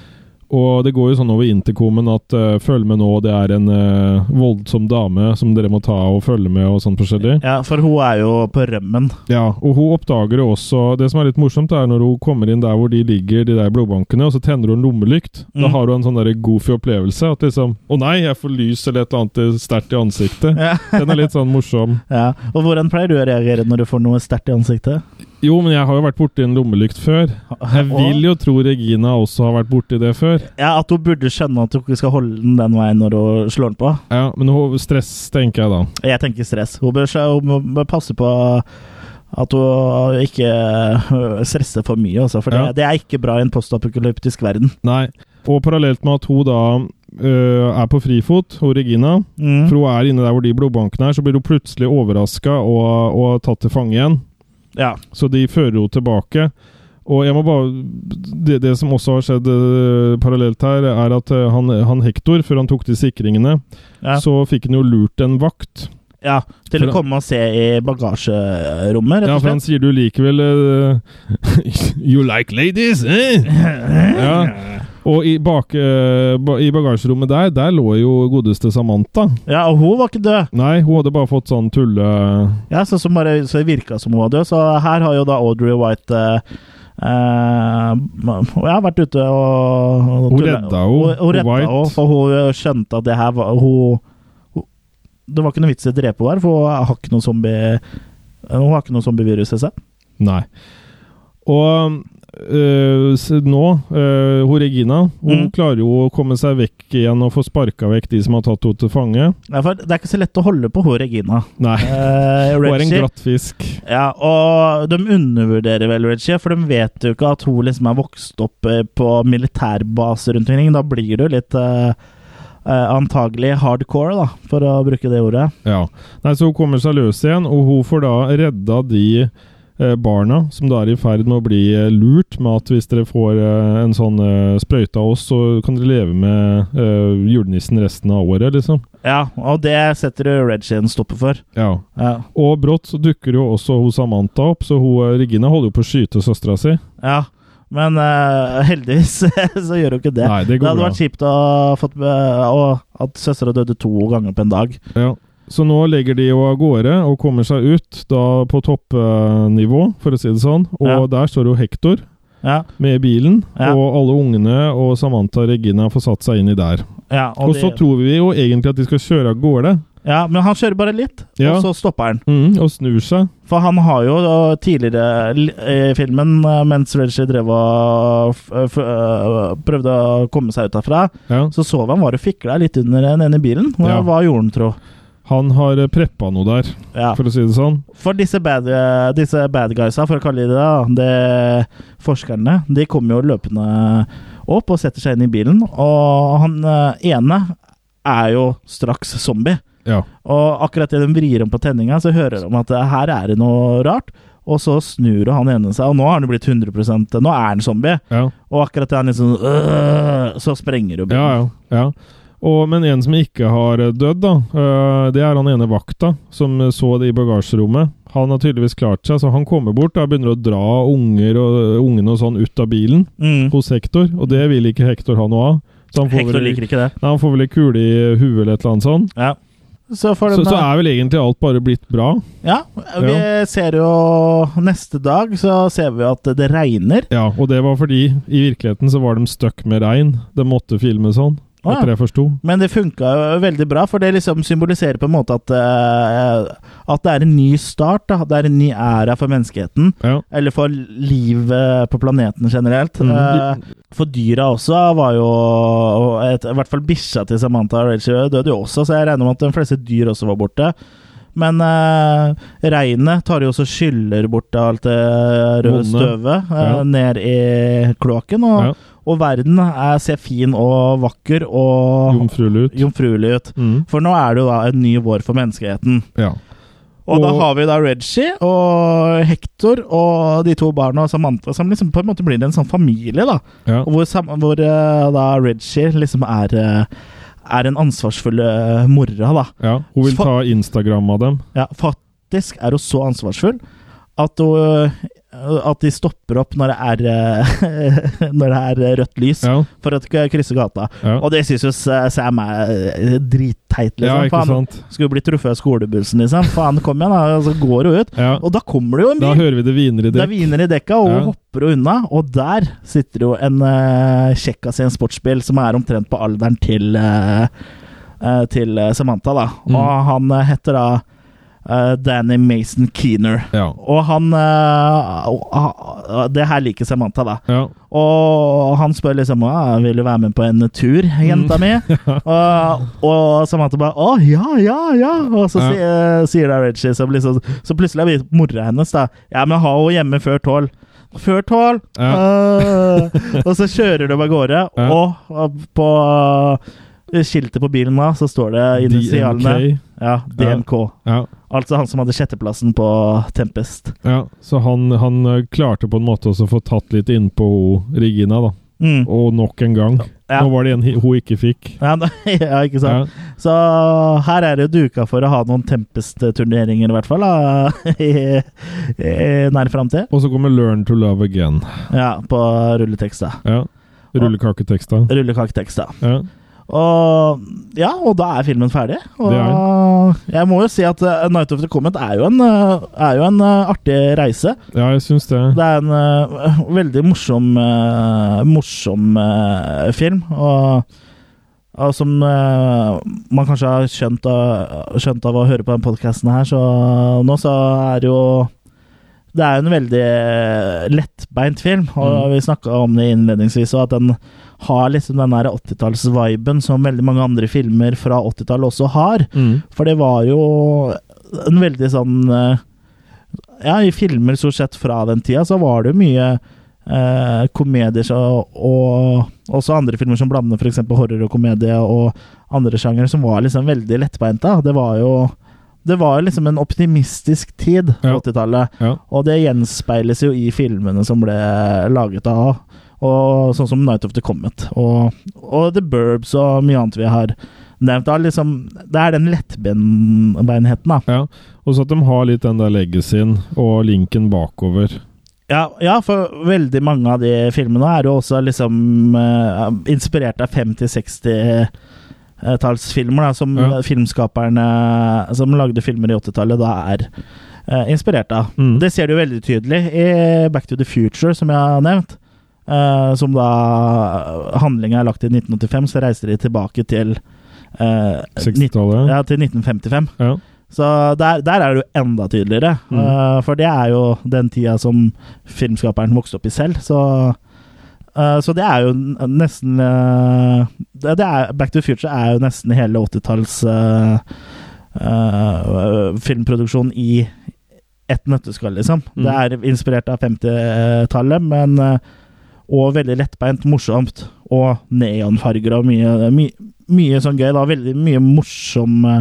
Og det går jo sånn over intercomen at eh, 'følg med nå, det er en eh, voldsom dame som dere må ta og følge med', og sånn forskjellig. Ja, for hun er jo på rømmen. Ja, og hun oppdager jo også Det som er litt morsomt, er når hun kommer inn der hvor de ligger, de der blodbankene, og så tenner hun lommelykt. Da Mm. har hun en sånn der goofy opplevelse. At liksom 'Å nei, jeg får lys eller et eller annet eh, sterkt i ansiktet'. Ja. Den er litt sånn morsom. Ja. Og hvordan pleier du å reagere når du får noe sterkt i ansiktet? Jo, men jeg har jo vært borti en lommelykt før. Jeg Og- vil jo tro Regina også har vært borti det før. Ja, At hun burde skjønne at hun ikke skal holde den den veien når hun slår den på. Ja, Men hun stress, tenker jeg da. Jeg tenker stress. Hun bør, skjø- hun bør passe på at hun ikke øh, stresser for mye, altså. For Ja. det, det er ikke bra i en postapokalyptisk verden. Nei. Og parallelt med at hun da øh, er på frifot, hun Regina, Mm. for hun er inne der hvor de blodbankene er, så blir hun plutselig overraska og, og tatt til fange igjen. Ja. Så de fører henne tilbake. Og jeg må bare, det, det som også har skjedd eh, parallelt her, er at eh, han, han Hector, før han tok de sikringene, Ja. så fikk han jo lurt en vakt. ja, til For- å komme og se i bagasjerommet, rett Ja, og for han slett. sier du likevel eh, You like ladies, eh? Ja. Og i, bak, eh, ba, i bagasjerommet der, der lå jo godeste Samantha. Ja, og hun var ikke død. Nei, hun hadde bare fått sånn tulle... Ja, så, som bare, så det virka som hun var død. Så her har jo da Audrey White eh, eh, Hun har vært ute og, og Hun redda henne, Hun, hun redda White. henne, for hun skjønte at det her var hun, hun, Det var ikke noe vits i å drepe henne her, for hun har ikke noe zombie... Hun har ikke noe zombievirus i seg. Nei. Og øh, s- nå, øh, hun Regina, hun Mm. klarer jo å komme seg vekk igjen og få sparka vekk de som har tatt henne til fange. Ja, for det er ikke så lett å holde på hun Regina. Nei. Eh, Hun er en Reggie- glatt fisk. Ja, og de undervurderer vel Reggie, for de vet jo ikke at hun liksom er vokst opp eh, på militærbase rundt omkring. Da blir du litt eh, eh, antagelig hardcore, da, for å bruke det ordet. Ja. Nei, så hun kommer seg løs igjen, og hun får da redda de eh, barna som da er i ferd med å bli eh, lurt med at hvis dere får eh, en sånn eh, sprøyte av oss, så kan dere leve med eh, julenissen resten av året, liksom. Ja, og det setter jo Reggie en stopper for. Ja. Ja. Og brått så dukker jo også hun Samantha opp, så hun, eh, Regina holder jo på å skyte søstera si. ja. Men eh, heldigvis så gjør hun ikke det. Nei, det går hadde bra. vært kjipt å fått be- og at søstera døde to ganger på en dag. Ja. Så nå legger de jo av gårde og kommer seg ut da på toppnivå, for å si det sånn. Og Ja. der står jo Hector Ja, med bilen, Ja. og alle ungene og Samantha og Regina får satt seg inn i der. ja, Og, de- så tror vi jo egentlig at de skal kjøre av gårde, ja, men han kjører bare litt, Ja. og så stopper han. mm, og snur seg. For han har jo da tidligere l- i filmen, eh, mens Reggie drev og f eh, f øh, prøvde å komme seg ut derfra, Ja. så så vi han var og fikla litt under den ene bilen. Hva, Ja. hva gjorde han, tro? Han har eh, preppa noe der, Ja. for å si det sånn. For disse bad, eh, disse bad guysa, for å kalle de det, da, det forskerne, de kommer jo løpende opp og setter seg inn i bilen. Og han eh, ene er jo straks zombie. Ja. Og akkurat det de vrir om på tenninga, så hører de at eh, her er det noe rart. Og så snur han ene seg, og nå har han jo blitt 100 Nå er han zombie. Ja, Og akkurat det han liksom øh, Så sprenger jo ja. bilen. ja, ja. Og, men en som ikke har eh, dødd, da, eh, det er han ene vakta som eh, så det i bagasjerommet. Han har tydeligvis klart seg, så han kommer bort da, og begynner å dra unger og, ungene og sånn ut av bilen Mm. hos Hector, og det vil ikke Hector ha noe av. Så han får Hector vel, liker ikke det. Nei, han får vel ei kule i huet eller et eller annet sånt. Ja. Så får Så, de så er vel egentlig alt bare blitt bra. Ja, vi ser jo Neste dag så ser vi jo at det regner. Ja, og det var fordi i virkeligheten så var de stuck med regn. De måtte filme sånn, Å, ja. etter det jeg forsto. Men det funka jo veldig bra, for det liksom symboliserer på en måte at eh, At det er en ny start. Da. Det er en ny æra for menneskeheten. Ja. Eller for livet på planeten generelt. Mm. Eh, For dyra også var jo og et, I hvert fall bikkja til Samantha og Rachel døde jo også, så jeg regner med at de fleste dyr også var borte. Men eh, regnet tar jo også skyller bort alt det røde Vonde. støvet eh, Ja. ned i kloakken, og, Ja. og verden er, ser fin og vakker og Jomfrulut. jomfruelig ut. Mm. For nå er det jo da en ny vår for menneskeheten. Ja. Og, da Og- har vi da Reggie og Hector og de to barna og Samantha som liksom på en måte blir en sånn familie, da. ja. Og Hvor, sam hvor eh, da Reggie liksom er eh, er en ansvarsfull eh, mora, da. ja. Hun vil ta Instagram av dem. Ja, faktisk er hun så ansvarsfull at hun eh, at de stopper opp når det er, eh, når det er rødt lys Ja. for å k- krysse gata. Ja. Og det syns jo S- Sam er eh, dritteit, ja, liksom. ikke for han sant? skulle bli truffet av skolebussen, liksom. Faen, kom igjen, da. Og så går hun ut. Ja. Og da kommer det jo en Da bil. hører vi det hviner i Det det. er viner i dekka, og hun Ja. hopper hun unna. Og der sitter jo en uh, kjekkas i en sportsbil som er omtrent på alderen til, eh, eh, til eh, Samantha. da. Mm. Og han eh, heter da eh, Danny Mason Keener. Ja. Og han eh, og- ah, Det her liker Samantha, da. ja. Og han spør liksom ah, 'Vil du være med på en tur, jenta mi?' Mm. og, og Samantha bare 'Å, ja, ja, ja'. Og så Ja. si, eh, sier da Reggie som liksom Så plutselig er vi- mora hennes, da. 'Ja, men ha henne hjemme før tolv'. Før tolv! Eh, og så kjører de av gårde, Ja. og, og på eh, skiltet på bilen da, så står det initialene DMK. ja, DMK. Ja. Altså han som hadde sjetteplassen på Tempest. Ja, så han, han eh, klarte på en måte også å få tatt litt innpå ho- Regina, da. Mm. Og nok en gang. Ja. Altså- Nå var det en hi- hun ikke fikk. Ja, da- ja, ikke sant? Ja. Så her er det duka for å ha noen Tempest-turneringer, i hvert fall, da, i, i nær framtid. Og så kommer 'Learn to Love Again'. Ja, på rulletekst, da. Ja. Rullekaketeksta. Rullekaketekst, da. Ja. Og ja, og da er filmen ferdig. Og Det er jeg må jo si at eh, 'Night of the Comet' er jo en, eh, er jo en eh, artig reise. ja, jeg syns det. Det er en eh, veldig morsom eh, morsom eh, film. Og, og som eh, man kanskje har skjønt av, skjønt av å høre på den podkasten her, så nå så er det jo Det er en veldig eh, lettbeint film, og vi snakka om det innledningsvis, og at den har liksom den der 80-tallsviben som veldig mange andre filmer fra 80-tallet også har. Mm. For det var jo en veldig sånn eh, Ja, i filmer stort sett fra den tida, så var det jo mye eh, komedier og, og også andre filmer som blander f.eks. horror og komedie og andre sjangere, som var liksom veldig lettbeinta. Det var jo det var jo liksom en optimistisk tid, Ja. 80-tallet. Ja. Og det gjenspeiles jo i filmene som ble laget av og sånn som Night of the Comet og, og The Burbs og mye annet vi har nevnt. Da, liksom, det er den lettbeinheten, da. ja. Og så at de har litt den der legacyen og linken bakover. Ja, ja, for veldig mange av de filmene er jo også liksom eh, inspirert av 50-60-tallsfilmer, da, som Ja. filmskaperne som lagde filmer i 80-tallet, da er eh, inspirert av. Mm. Det ser du veldig tydelig i Back to the Future, som jeg har nevnt. eh, som da handlinga er lagt i 1985, så reiser de tilbake til eh, 60-tallet. ja, til 1955. Ja. Så der, der er det jo enda tydeligere. Mm. eh, for det er jo den tida som filmskaperen vokste opp i selv. Så, eh, så det er jo n- nesten eh, det, det er, Back to the Future er jo nesten hele 80-talls eh, eh, filmproduksjon i ett nøtteskall, liksom. Mm. Det er inspirert av 50-tallet, men eh, og veldig lettbeint, morsomt. Og neonfarger og mye, my, mye sånn gøy. da, Veldig mye morsom eh,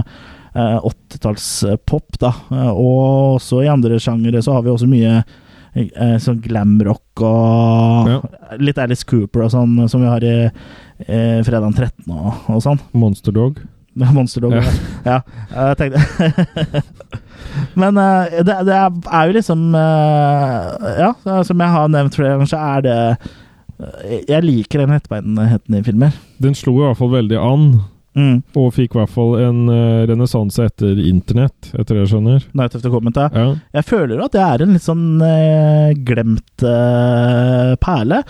eh, 80-tallspop, da. Eh, Og også i andre sjangere så har vi også mye eh, sånn glamrock og Ja. litt Alice Cooper og sånn, som vi har i eh, Fredag den 13. og, og sånn. Monster Dog. Monster Dog. Ja. Ja. ja. Jeg tenkte Men eh, det, det er er jo liksom eh, Ja, det er som jeg har nevnt flere ganger, så er det eh, Jeg liker den lettbeinheten i filmer. Den slo i hvert fall veldig an, Mm. og fikk i hvert fall en uh, renessanse etter internett, etter det jeg skjønner. Night of the Comet, ja. Ja. Jeg føler at det er en litt sånn eh, glemt eh, perle.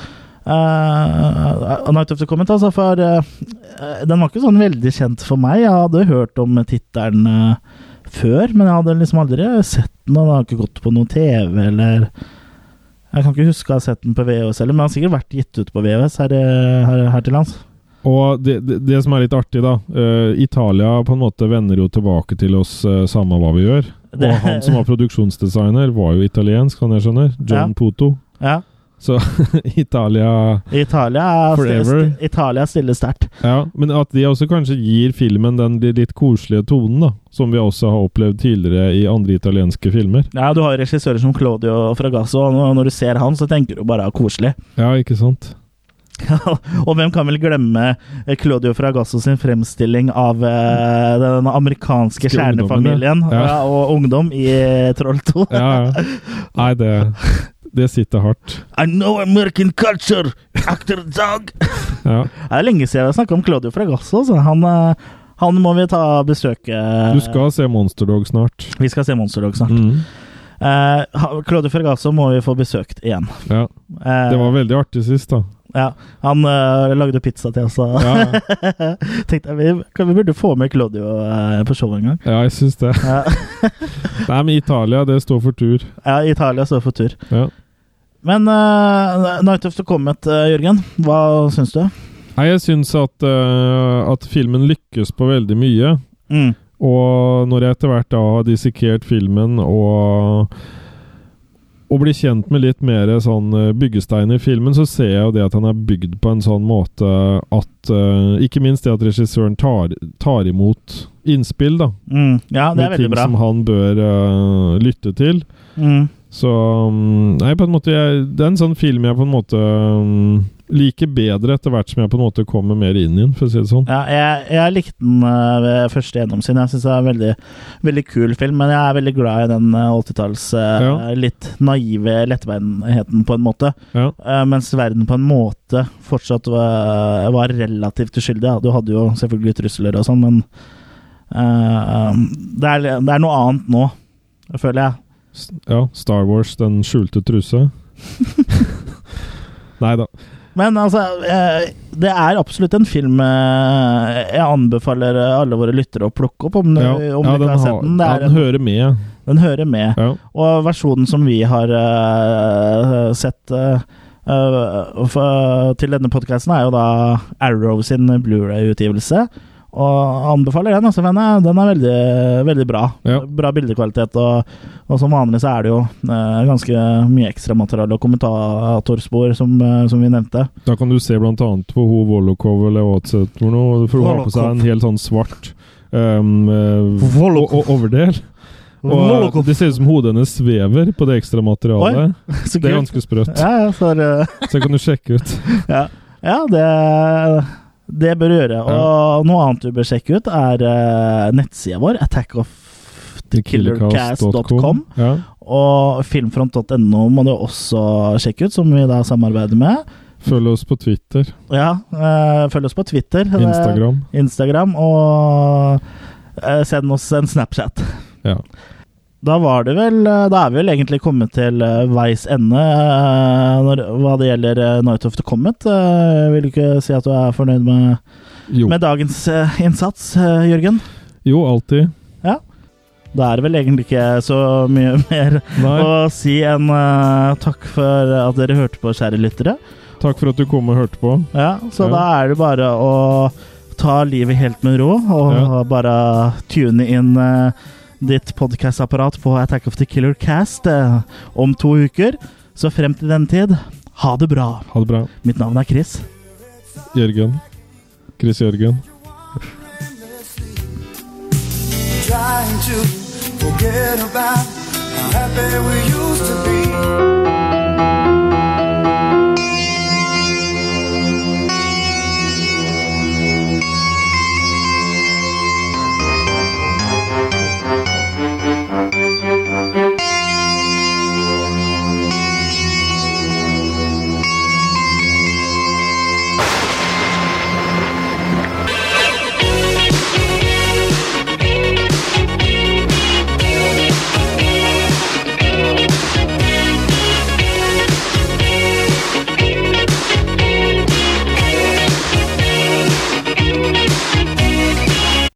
Eh, Night of the Comet, altså, for eh, eh, den var ikke sånn veldig kjent for meg. Jeg hadde hørt om tittelen eh, før, men jeg hadde liksom aldri sett den, og den har ikke gått på noe TV, eller Jeg kan ikke huske å ha sett den på VHS heller, men den har sikkert vært gitt ut på VHS her, eh, her, her til lands. Og det, det, det som er litt artig, da eh, Italia på en måte vender jo tilbake til oss eh, samme hva vi gjør. Det- Og han som var produksjonsdesigner, var jo italiensk, kan jeg skjønne. John Ja. Poto. Ja. Så Italia Italia, er sti- Forever. sti- Italia stiller sterkt. Ja, men at de også kanskje gir filmen den li- litt koselige tonen, da. Som vi også har opplevd tidligere i andre italienske filmer. Ja, du har jo regissører som Claudio Fragasso, og når- når du ser han, så tenker du bare koselig. Ja, ikke sant? og hvem kan vel glemme eh, Claudio Fragasso sin fremstilling av eh, den amerikanske Skal ungdommen, ja. kjernefamilien Ja. ja, og ungdom i eh, Troll 2? Ja, ja. Nei, det, det sitter hardt. I know American culture, actor dog! Ja. Det er lenge siden vi har snakka om Claudio Fragasso, så han, eh, han må vi ta besøke. Du skal se Monster Dog snart. Vi skal se Monster Dog snart. Mm. Eh, ha- Claudio Fragasso må vi få besøkt igjen. Ja. Eh, Det var veldig artig sist, da. Ja, han øh, lagde pizza til oss, og Ja, tenkte jeg vi, kan- vi burde få med Claudio øh, på showet en gang. ja jeg syns det. Ja, Nei, men Italia, det står for tur. ja, Italia står for tur. Ja. Men øh, Night of the Comet, øh, Jørgen, hva syns du? Nei, jeg syns at, eh, at filmen lykkes på veldig mye. Mm. Og når jeg etter hvert da har dissekert filmen og og blir kjent med litt mer sånn eh, byggestein i filmen, så ser jeg jo det at han er bygd på en sånn måte at eh, Ikke minst det at regissøren tar, tar imot innspill, da. Mm. Ja, det er med ting veldig bra. som han bør eh, lytte til. Mm. Så mm, Nei, på en måte jeg, Det er en sånn film jeg på en måte mm, liker bedre etter hvert som jeg på en måte kommer mer inn i den, for å si det sånn. Ja, jeg, jeg likte den eh, ved første gjennomsyn. Jeg syns det er en veldig, veldig kul film, men jeg er veldig glad i den eh, 80-talls eh, Ja. litt naive lettveinheten, på en måte. Ja. Eh, mens verden på en måte fortsatt var, eh, var relativt uskyldig. Ja. Du hadde jo selvfølgelig trusler og sånn, men eh, det, er, det er noe annet nå, føler jeg. S- ja. Star Wars, den skjulte truse. nei da. Men altså, eh, det er absolutt en film eh, jeg anbefaler eh, alle våre lyttere å plukke opp, om, du- Ja, om ja, du den, ikke har har, sett den. Det ja, er den en, hører med. den hører med. Ja. Og versjonen som vi har eh, sett eh, eh, for, til denne podkasten, er jo da Arrow sin Blu-ray-utgivelse. Og anbefaler den, altså, for den er, den er veldig, veldig bra. Ja. Bra bildekvalitet, og, og som vanlig så er det jo eh, ganske mye ekstramateriale og kommentatorspor, som, eh, som vi nevnte. Da kan du se blant annet på hun Volokov eller hva det heter for noe. For hun har på seg en Volokov. helt sånn svart um, eh, o- Volokov. o- overdel. Og eh, Volokov. det ser ut som hodet hennes svever på det ekstra materialet. Så Det kult. er ganske sprøtt. Ja, ja, for, eh, Så kan du sjekke ut. ja. ja det, det bør du gjøre. Og noe annet du bør sjekke ut, er eh, nettsida vår, attackofthekillercast.com. Ja. Og filmfront.no må du også sjekke ut, som vi da samarbeider med. Følg oss på Twitter, Ja, eh, følg oss på Twitter, det- Instagram. Instagram og eh, send oss en Snapchat. Ja. Da var det vel eh, Da er vi vel egentlig kommet til eh, veis ende eh, når, hva det gjelder eh, Night of the Comet. Eh, Vil du ikke si at du er fornøyd med, Jo. med dagens eh, innsats, eh, Jørgen? jo, alltid. Da er det vel egentlig ikke så mye mer Nei, å si enn eh, takk for at dere hørte på, kjære lyttere. takk for at du kom og hørte på. Ja, så Ja. da er det bare å ta livet helt med ro, og Ja. bare tune inn eh, ditt podkastapparat på Attack of the Killer Cast eh, om to uker. Så frem til den tid, ha det bra. Ha det bra. Mitt navn er Chris. Jørgen. Chris Jørgen. trying to forget about how happy we used to be.